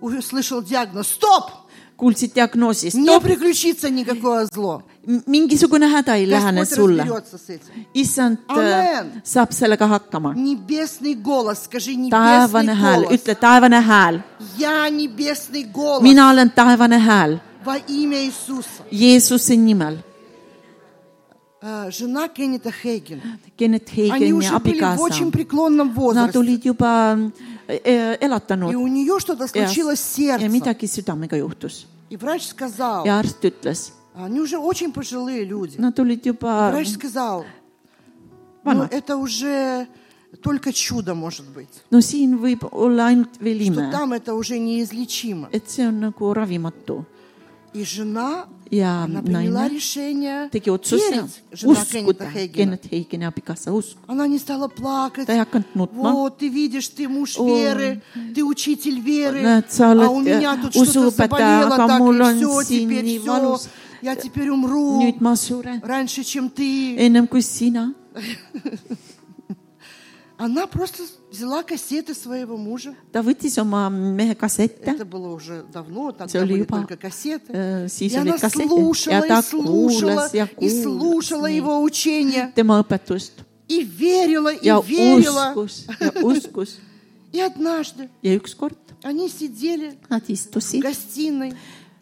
услышал диагноз. Стоп,
kuulsid diagnoosi ,
не
stopp ,
приключится никакое зло.
mingisugune häda ei lähene
Господь
sulle .
разберется с этим.
issand
Amen.
äh, saab sellega hakkama .
Небесный голос, скажи
taevane
небесный
hääl ,
голос.
ütle taevane hääl ,
Я небесный голос
mina olen taevane hääl
во имя Иисуса.
Jeesuse nimel .
Э, Жена Кеннета Хейгена.
Kennet
Они
Heigeni
уже были в
abikaasa
очень , преклонном
nad
возрасте.
olid juba äh,
И
elatanud
у нее что-то
eas
случилось с
ja
сердцем.
midagi südamega juhtus
И врач сказал,
ja arst ütles
они уже очень пожилые люди.
Nad olid juba
Врач сказал, ну
vanad .
это уже только чудо может быть.
no siin võib olla ainult veel
Что ,
ime
там это уже неизлечимо.
et see on nagu ravimatu
И жена,
ja
она приняла
naine
решение
tegi otsuse
верить, жена Кеннета
uskuda
Хейгена.
Kennet Heigeni abikaasa usku .
Она не стала плакать.
Ta ei hakanud nutma.
Вот, ты видишь, ты муж веры, ты учитель веры,
näed , sa
а у
oled
меня
eh,
тут что-то
usuõpetaja ,
заболело,
aga
так
mul
и
on
все,
siin
теперь
nii
все,
valus .
я теперь умру
nüüd ma suren
раньше, чем ты.
ennem kui sina .
Она просто взяла кассеты своего мужа.
ta võttis oma mehe kassette
Это было уже давно,
See
тогда
oli
были
juba-
только кассеты.
Äh, siis
И
olid
она
kassetid ja
слушала
ta
и слушала,
kuulas ja
и
kuulas
слушала
neid-
его учения,
tema õpetust
и верила, и
ja
верила.
uskus ja uskus
И однажды
ja ükskord
они сидели
nad
в
istusid
гостиной,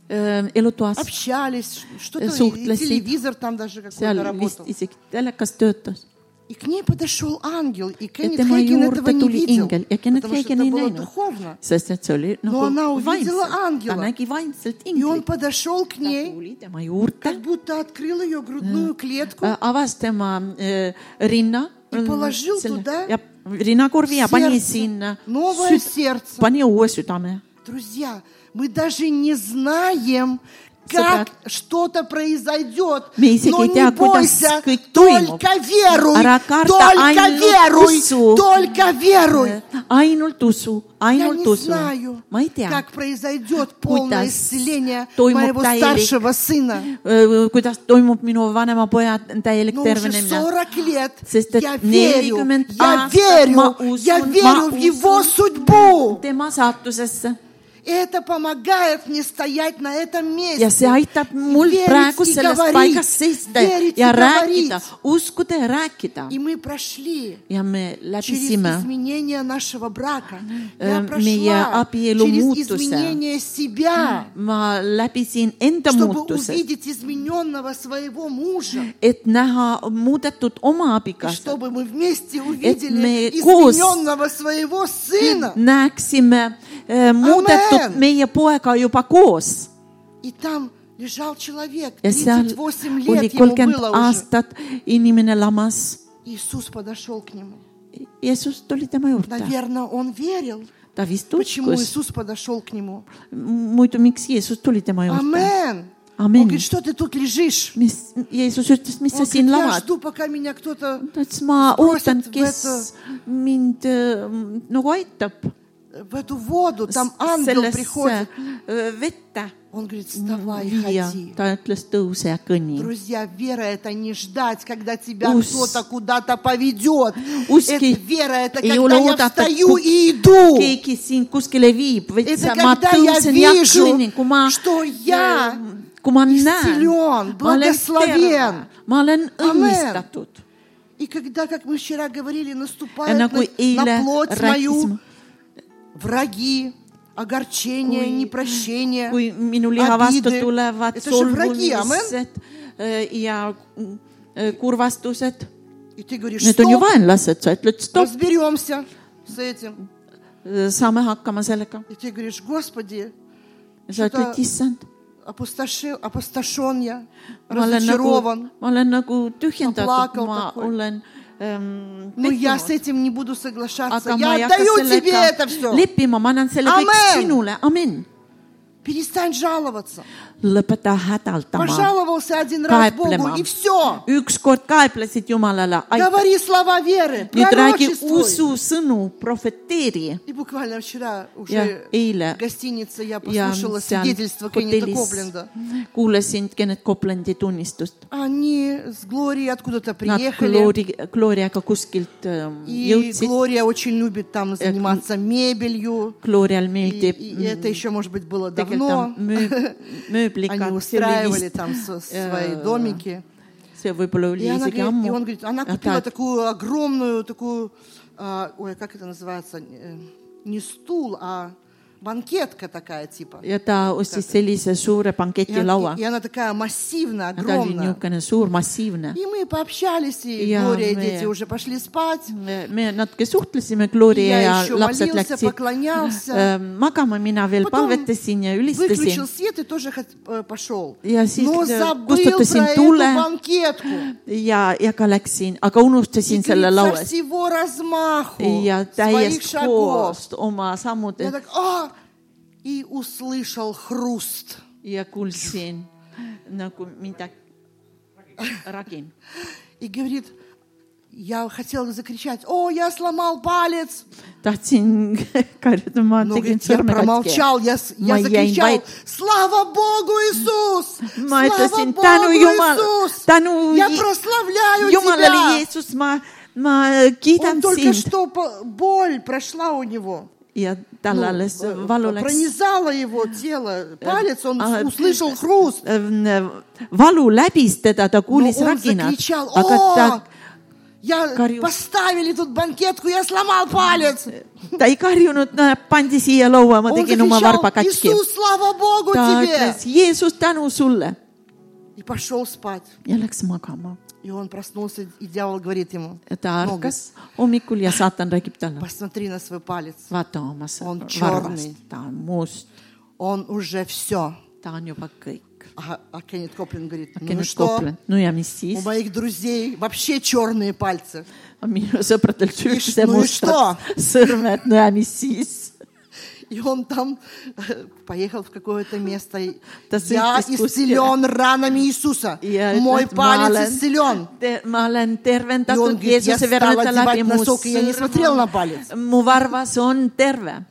äh, elutoas
общались, что-то, и
Suhtlesid.
телевизор там даже
seal
какой-то
vist
работал.
isegi telekas töötas
И к ней подошел ангел, и
ja
Кеннет
tema
Хейген этого
juurde
не
tuli
видел,
ingel ja Kennet
потому что
Hagen
это
ei
было
näinud
духовно. ,
sest et see oli nagu
No
она увидела
vaimselt , ta
ангела.
nägi vaimselt
И он
inglit ,
подошел к
ta
ней,
tuli tema juurde
как , будто открыл
А,
ее грудную клетку,
avas tema äh, rinna
Ja положил туда
ja rinnakurvi ja pani
сердце,
sinna
новое сердце.
pani uue südame .
Друзья, мы даже не знаем, как
Собрат.
что-то произойдет.
me isegi
Но
ei tea
не ,
kuidas
бойся,
kõik toimub
только веруй,
ära karda
только
ainult
веруй,
usu ,
только веруй.
Äh, ainult usu ,
Я
ainult
не
usu .
знаю,
ma ei tea ,
как произойдет полное
Kuidas
исцеление
toimub
моего
täielik-
старшего сына.
äh, kuidas toimub minu vanema poja täielik
Но уже
tervenemine .
40 лет
Sest et
я верю,
40
я
aastat ma
верю, я
usun,
верю
ma
в его
usun.
судьбу.
tema saatusesse
И это помогает мне стоять на этом месте.
ja see aitab mul
Верить
praegu
и
selles
говорить,
paigas seista
верить
ja
и
rääkida
говорить. ,
uskuda ja rääkida
И мы прошли
ja me
через
läbisime
изменение нашего брака.
Э,
Я
меня
прошла
апиелу
через
мутуса.
изменение себя,
ma läbisin enda
чтобы
muutused ,
увидеть измененного своего мужа.
et näha muudetud oma
И
abikaasa ,
чтобы мы вместе
Э, мы
увидели
кос-
измененного своего сына.
näeksime äh, muudetud
Amen.
meie poega juba koos
И там лежал человек,
ja seal
38
oli
лет ему
kolmkümmend
было уже.
aastat inimene lamas .
Иисус подошел к нему.
Jeesus tuli tema juurde ,
Наверное, он верил,
ta vist
почему
uskus ,
Иисус подошел к нему.
muidu miks Jeesus tuli tema juurde ?
Амен. Он
Амен.
говорит, что ты тут лежишь?
mis , Jeesus ütles , mis
Он
sa
говорит,
siin
я
lamad ?
жду, пока меня кто-то
ta ütles , ma
Proosid
ootan , kes mind äh, nagu aitab
в эту воду, там ангел
sellesse
приходит.
äh, vette
Он говорит, вставай,
viia .
ходи.
ta ütles , tõuse ja kõnni .
Друзья, вера это не ждать, когда тебя
Ус-
кто-то куда-то поведет.
Узкий.
Это вера это
И
когда я
улоудатый
встаю
путь.
и иду.
keegi sind kuskile viib , vaid
Это
sa- ma
когда я
tõusen ja
вижу,
kõnnin , kui ma
что , я
kui ma näen ,
исцелен,
ma olen terve
благословен. ,
ma olen
Amen.
õnnistatud
И когда, как мы вчера говорили,
ja
наступает
nagu
на,
eile
на плоть мою
rääkisime ,
враги, огорчение,
Kui-
непрощение,
kui minu liha vastu
обиды.
tulevad
Это же враги, амен.
solvumised äh, ja äh, kurvastused ,
И ты говоришь,
need on ju
что
vaenlased , sa ütled stopp ,
разберемся с этим.
saame hakkama sellega .
И ты говоришь, Господи,
sa
Seda-
ütled , issand ,
опустошил, опустошен я,
ma olen nagu
разочарован. ,
ma olen nagu
Ma
tühjendatud
plakal ,
ma
такой.
olen ähm,
Но я
pettunud.
с этим не буду соглашаться.
aga ma ei
Я
hakka
отдаю тебе это
sellega
все.
leppima , ma annan selle kõik
Amen.
sinule , amin .
Перестань жаловаться.
lõpeta hädaldama .
Пожаловался один раз Богу,
Каеплема.
и все.
ükskord kaeblesid Jumalale , aitäh .
Говори слова веры,
nüüd räägi
пророчествуй.
ususõnu , profeteeri
И буквально вчера уже
ja eile
в гостинице я
ja
послушала
seal
свидетельство Кеннета
hotellis
Копленда.
kuulasin Kennet Koplandi tunnistust .
Они с Глорией откуда-то
Nad
приехали.
Gloria , Gloriaga kuskilt ähm,
И
jõudsid ,
Глория очень любит там заниматься мебелью.
Glorial
И,
meeldib
и это еще, может быть, было
tegelikult
давно.
on möö- ,
Они
mööbliga ,
устраивали там со- свои домики.
see võib-olla oli
И, она говорит-
isegi
и он
ammu .
говорит, она
А
купила
так.
такую огромную, такую, а, ой, как это называется, э, не стул, а банкетка такая типа.
ja ta ostis sellise
И,
suure
она-
banketilaua
и она такая массивная,
ja ta oli
огромная.
niisugune suur massiivne .
И мы пообщались, и
Я
Глория и
мы-
дети уже пошли спать.
me natuke suhtlesime ,
Ja
Gloria ja
еще
lapsed
молился,
läksid
поклонялся.
äh, magama , mina veel
Потом
palvetasin ja
Выключил
ülistasin
свет и тоже хот- э, пошел.
Я сис-
Но
э,
забыл
кусто-то
про эту
синтуле.
банкетку.
ja , ja ka läksin , aga
И
unustasin selle
говорит, со
laua eest
всего размаху
ja
своих
täiest
шагов.
hoost oma sammude
Я так, а! И услышал хруст.
ja kuulsin nagu midagi , ragin .
И говорит, я хотела закричать, о, я сломал палец.
tahtsin karjuda , ma
Но
tegin
говорит, я
sõrme katki
промолчал, я, с- я
Моя
закричал,
инвайт.
слава Богу, Иисус!
Ma
Слава
ütlesin,
Богу,
tänu Jumal-
Иисус!
tänu
Я
Je-
прославляю
jumalale ,
Тебя!
Jeesus , ma , ma
Он
kiidan
только
sind
что по- боль прошла у него.
ja
Ну,
tal alles
э,
valu läks , Ah, äh,
пронизала его тело, палец, он
а,
услышал хруст.
äh, valu läbis teda , ta kuulis
No on
raginat
Ну, закричал, ,
aga ta ,
Я
Горю.
поставили тут банкетку, я сломал палец.
ta ei karjunud , pandi siia laua , ma
Он
tegin oma
закричал,
varba katki .
Иисус, слава Богу
ta
тебе!
ütles , Jeesus , tänu sulle
И пошел спать.
ja läks magama .
И он проснулся, и дьявол говорит ему,
ta
«Ну,
ärkas hommikul ja saatan räägib talle ,
посмотри на свой палец.
vaata oma
On
sõrm- varvast
čorni. ,
ta on must ,
Он уже все.
ta on juba kõik .
А, а Кеннет Коплин говорит, ну
Kenneth
что,
Copeland. no ja mis
у
siis ?
моих друзей вообще черные пальцы.
minu sõpradel
Mis-
süüakse
no
mustad sõrmed ,
ну
no ja mis siis ?
И он там э, поехал в какое-то место. и
Да
Я
сын искусителя.
исцелен ранами Иисуса. Мой палец исцелен.
ma olen
Ja on
tervendatud
kõik- ja
Jeesuse
stala
verete
divat
läbi , mu
nasok ja nii смотрел на palets.
sõrm , mu varvas on terve .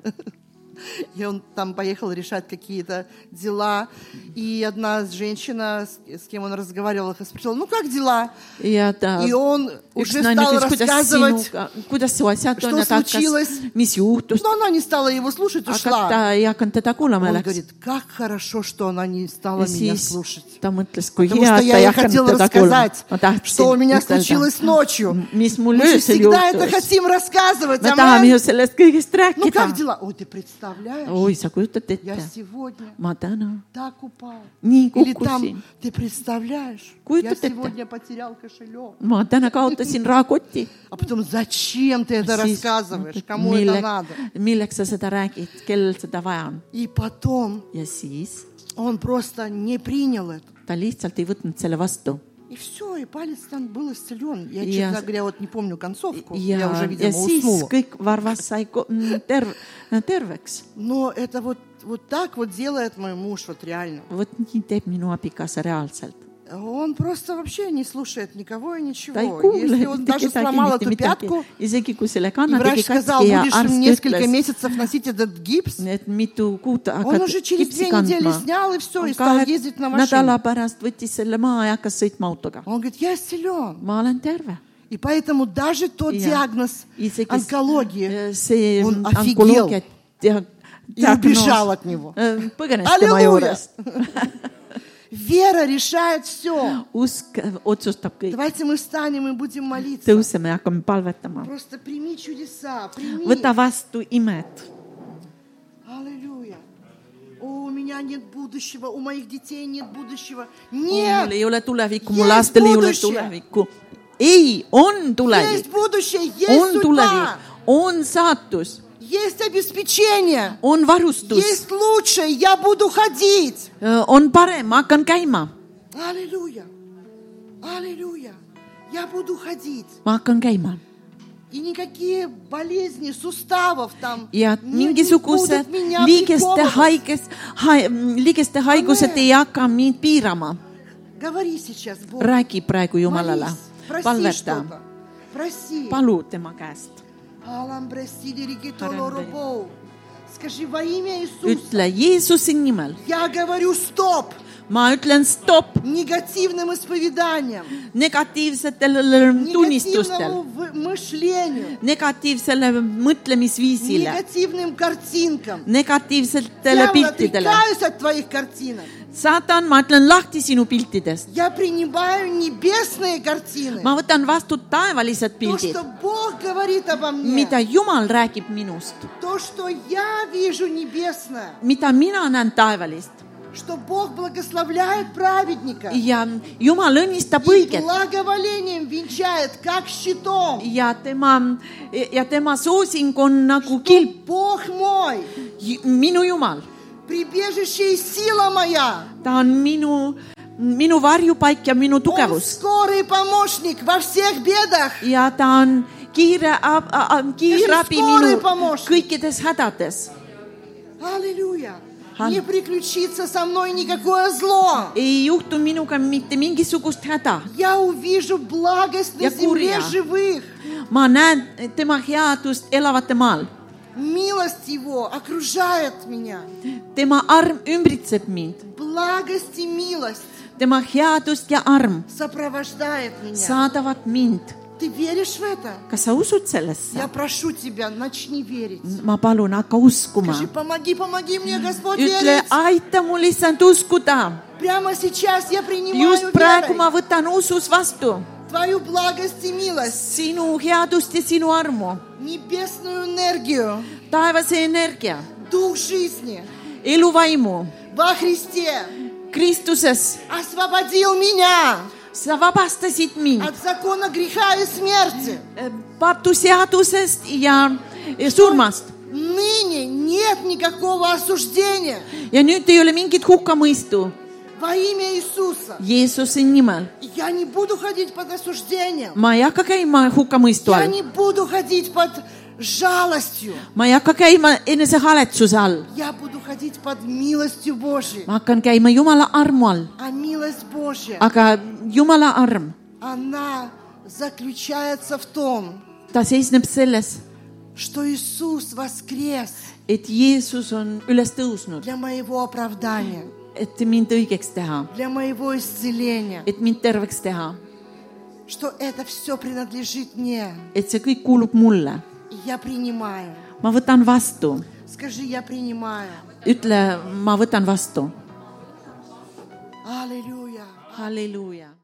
И он там поехал решать какие-то дела. И одна женщина, с, с кем он разговаривал, их спросила, ну как дела?
ja ta
А, И он
üks
уже
naine
стал
ütles , kuidas
рассказывать.
sinuga , kuidas su asjad
Что
on , ta hakkas
случилось? ,
mis juhtus ,
Но она не стала его слушать,
aga ta
ушла.
ei hakanud teda kuulama ,
Он
läks .
говорит, как хорошо, что она не стала
ja
меня
siis
слушать.
ta mõtles , kui
Потому что
hea , et ta
я
ei
ей
hakanud
хотела
teda kuulama
рассказать . что
ma
у
tahtsin
меня случилось ночью.
mis mul
Мы же
öösel
всегда это
juhtus .
хотим рассказывать.
me
аминь.
tahame ju sellest kõigest
Ну
rääkida
как . дела? О, ты представляешь?
oi , sa kujutad
Я
ette ,
сегодня
ma tänan ,
так упал.
Не
Или
кукуси.
там, ты представляешь,
Какой
я
тут это?
сегодня потерял кошелек.
ma täna kaotasin rahakoti .
А потом, зачем ты это рассказываешь? Кому это надо?
milleks sa seda räägid , kellel seda vaja on ?
И потом
ja siis
он просто не принял это.
ta lihtsalt ei võtnud selle vastu
И все, и палец там был исцелен. Я,
Я-
честно говоря, вот не помню концовку. Я,
ja
уже, ,
ja
видимо,
siis
уснула.
kõik varvas sai ko- mm, terv- , terveks .
Но это вот, вот так вот делает мой муж, вот реально.
vot nii teeb minu abikaasa reaalselt .
Он просто вообще не слушает никого и ничего.
ta ei kuule
Если он
mitte
даже сломал
kedagi , mitte
эту
midagi
пятку, ,
isegi kui selle
и
kanna
врач
tegi
сказал,
katki ja
будешь
arst
несколько
ütles ,
месяцев носить этот гипс,
et mitu kuud
он
hakkad
уже через
kipsi
две недели
kandma .
снял и все, и стал
kahe
ездить на машине.
nädala pärast võttis selle maha ja hakkas sõitma autoga .
Он говорит, я исцелен.
ma olen terve .
И поэтому даже тот
Я-
диагноз
isegi
онкологии,
s- Äh, see
on Э, офигел.
onkoloogia dia-
Ja убежал
diagnoos Äh,
от него.
põgenes tema
Аллилуйя!
juurest .
Вера решает все.
usk otsustab kõik .
Давайте мы встанем и будем молиться.
tõuseme ja hakkame palvetama .
Просто прими чудеса, прими.
võta vastu imed .
Аллилуйя. О, у меня нет будущего, у моих детей нет будущего.
mul
Нет,
ei ole tulevikku , mu
Yes,
lastel ei ole
будущее.
tulevikku . ei , on
есть
tulevik ,
будущее, есть
on
судьба,
tulevik , on saatus ,
есть обеспечение,
on varustus ,
есть лучшее, я буду ходить.
on parem , ma hakkan käima ,
Аллилуйя. Аллилуйя. Я буду ходить.
ma hakkan käima
И никакие болезни суставов там
ja
не- не
mingisugused
будут меня
liigeste
приковывать.
haiges ha, , liigeste haigused
Amen.
ei hakka mind piirama .
Говори сейчас, Бог.
räägi praegu Jumalale
Молись. , Проси
palveta ,
что-то. Проси.
palu tema käest ,
Алам брасили ригитоло
Аренда.
рубоу. Skажи во имя Иисуса.
ütle Jeesuse nimel ,
Я говорю стоп
ma ütlen stopp
негативным исповеdaниям,
negatiivsetele
негативному
tunnistustel ,
в- мышлению,
negatiivsele mõtlemisviisile ,
негативным картинкам.
negatiivsetele
Я
piltidele .
отрекаюсь от твоих картинок.
saatan , ma ütlen lahti sinu piltidest ,
Я принимаю небесные картины.
ma võtan vastu taevalised
То, что
pildid ,
Бог говорит обо мне,
mida Jumal räägib minust
то, что я вижу небесное,
mida mina näen taevalist
что Бог благословляет праведника и
ja Jumal õnnistab õiget
благоволением венчает, как щитом.
ja tema ja tema soosing on nagu
Ну,
kilp ,
Бог мой,
minu Jumal ,
прибежище и сила моя,
ta on minu , minu varjupaik ja minu
Он
tugevus
скорый помощник во всех бедах.
ja ta on kiire , kiirabi minu kõikides hädades .
Аллилуйя.
Ан- Э-
Не приключится со мной никакое зло.
ei juhtu minuga mitte mingisugust häda ,
Я увижу благость на
Я
земле
куря.
живых.
ma näen tema headust elavate maal ,
Милость Его окружает меня.
tema arm ümbritseb mind ,
Благость и милость
tema headust ja arm
сопровождает меня.
saadavad mind
Ты веришь в это?
kas sa usud sellesse ?
Я прошу тебя, начни верить.
ma palun , hakka uskuma .
Скажи, помоги, помоги мне, Господь,
ütle
верить. ,
aita mul lihtsalt uskuda .
Прямо сейчас я принимаю
just praegu ma
верой
võtan usus vastu
твою благость и милость,
sinu headust ja sinu armu ,
небесную энергию,
taevase energia ,
дух жизни
eluvaimu ,
во Христе.
Kristuses .
Освободил меня
sa vabastasid mind
от закона греха и смерти.
patuseadusest ja ja surmast
Ныне нет никакого осуждения
ja nüüd ei ole mingit hukkamõistu
Во имя Иисуса.
Jeesuse nimel .
Я не буду ходить под осуждением.
ma ei hakka käima hukkamõistu
Я
all ,
не буду ходить под жалостью.
ma ei hakka käima enesehaletsuse all ,
Я буду ходить под милостью Божьей.
ma hakkan käima Jumala armu all ,
А милость Божья,
aga Jumala arm ,
она заключается в том,
ta seisneb selles ,
что Иисус воскрес
et Jeesus on üles tõusnud ,
для моего оправдания,
et mind õigeks teha ,
для моего исцеления,
et mind terveks teha ,
что это все принадлежит мне.
et see kõik kuulub mulle .
И я принимаю.
ma võtan vastu ,
Скажи, я принимаю.
ütle , ma võtan vastu .
Аллилуйя.
halleluuja .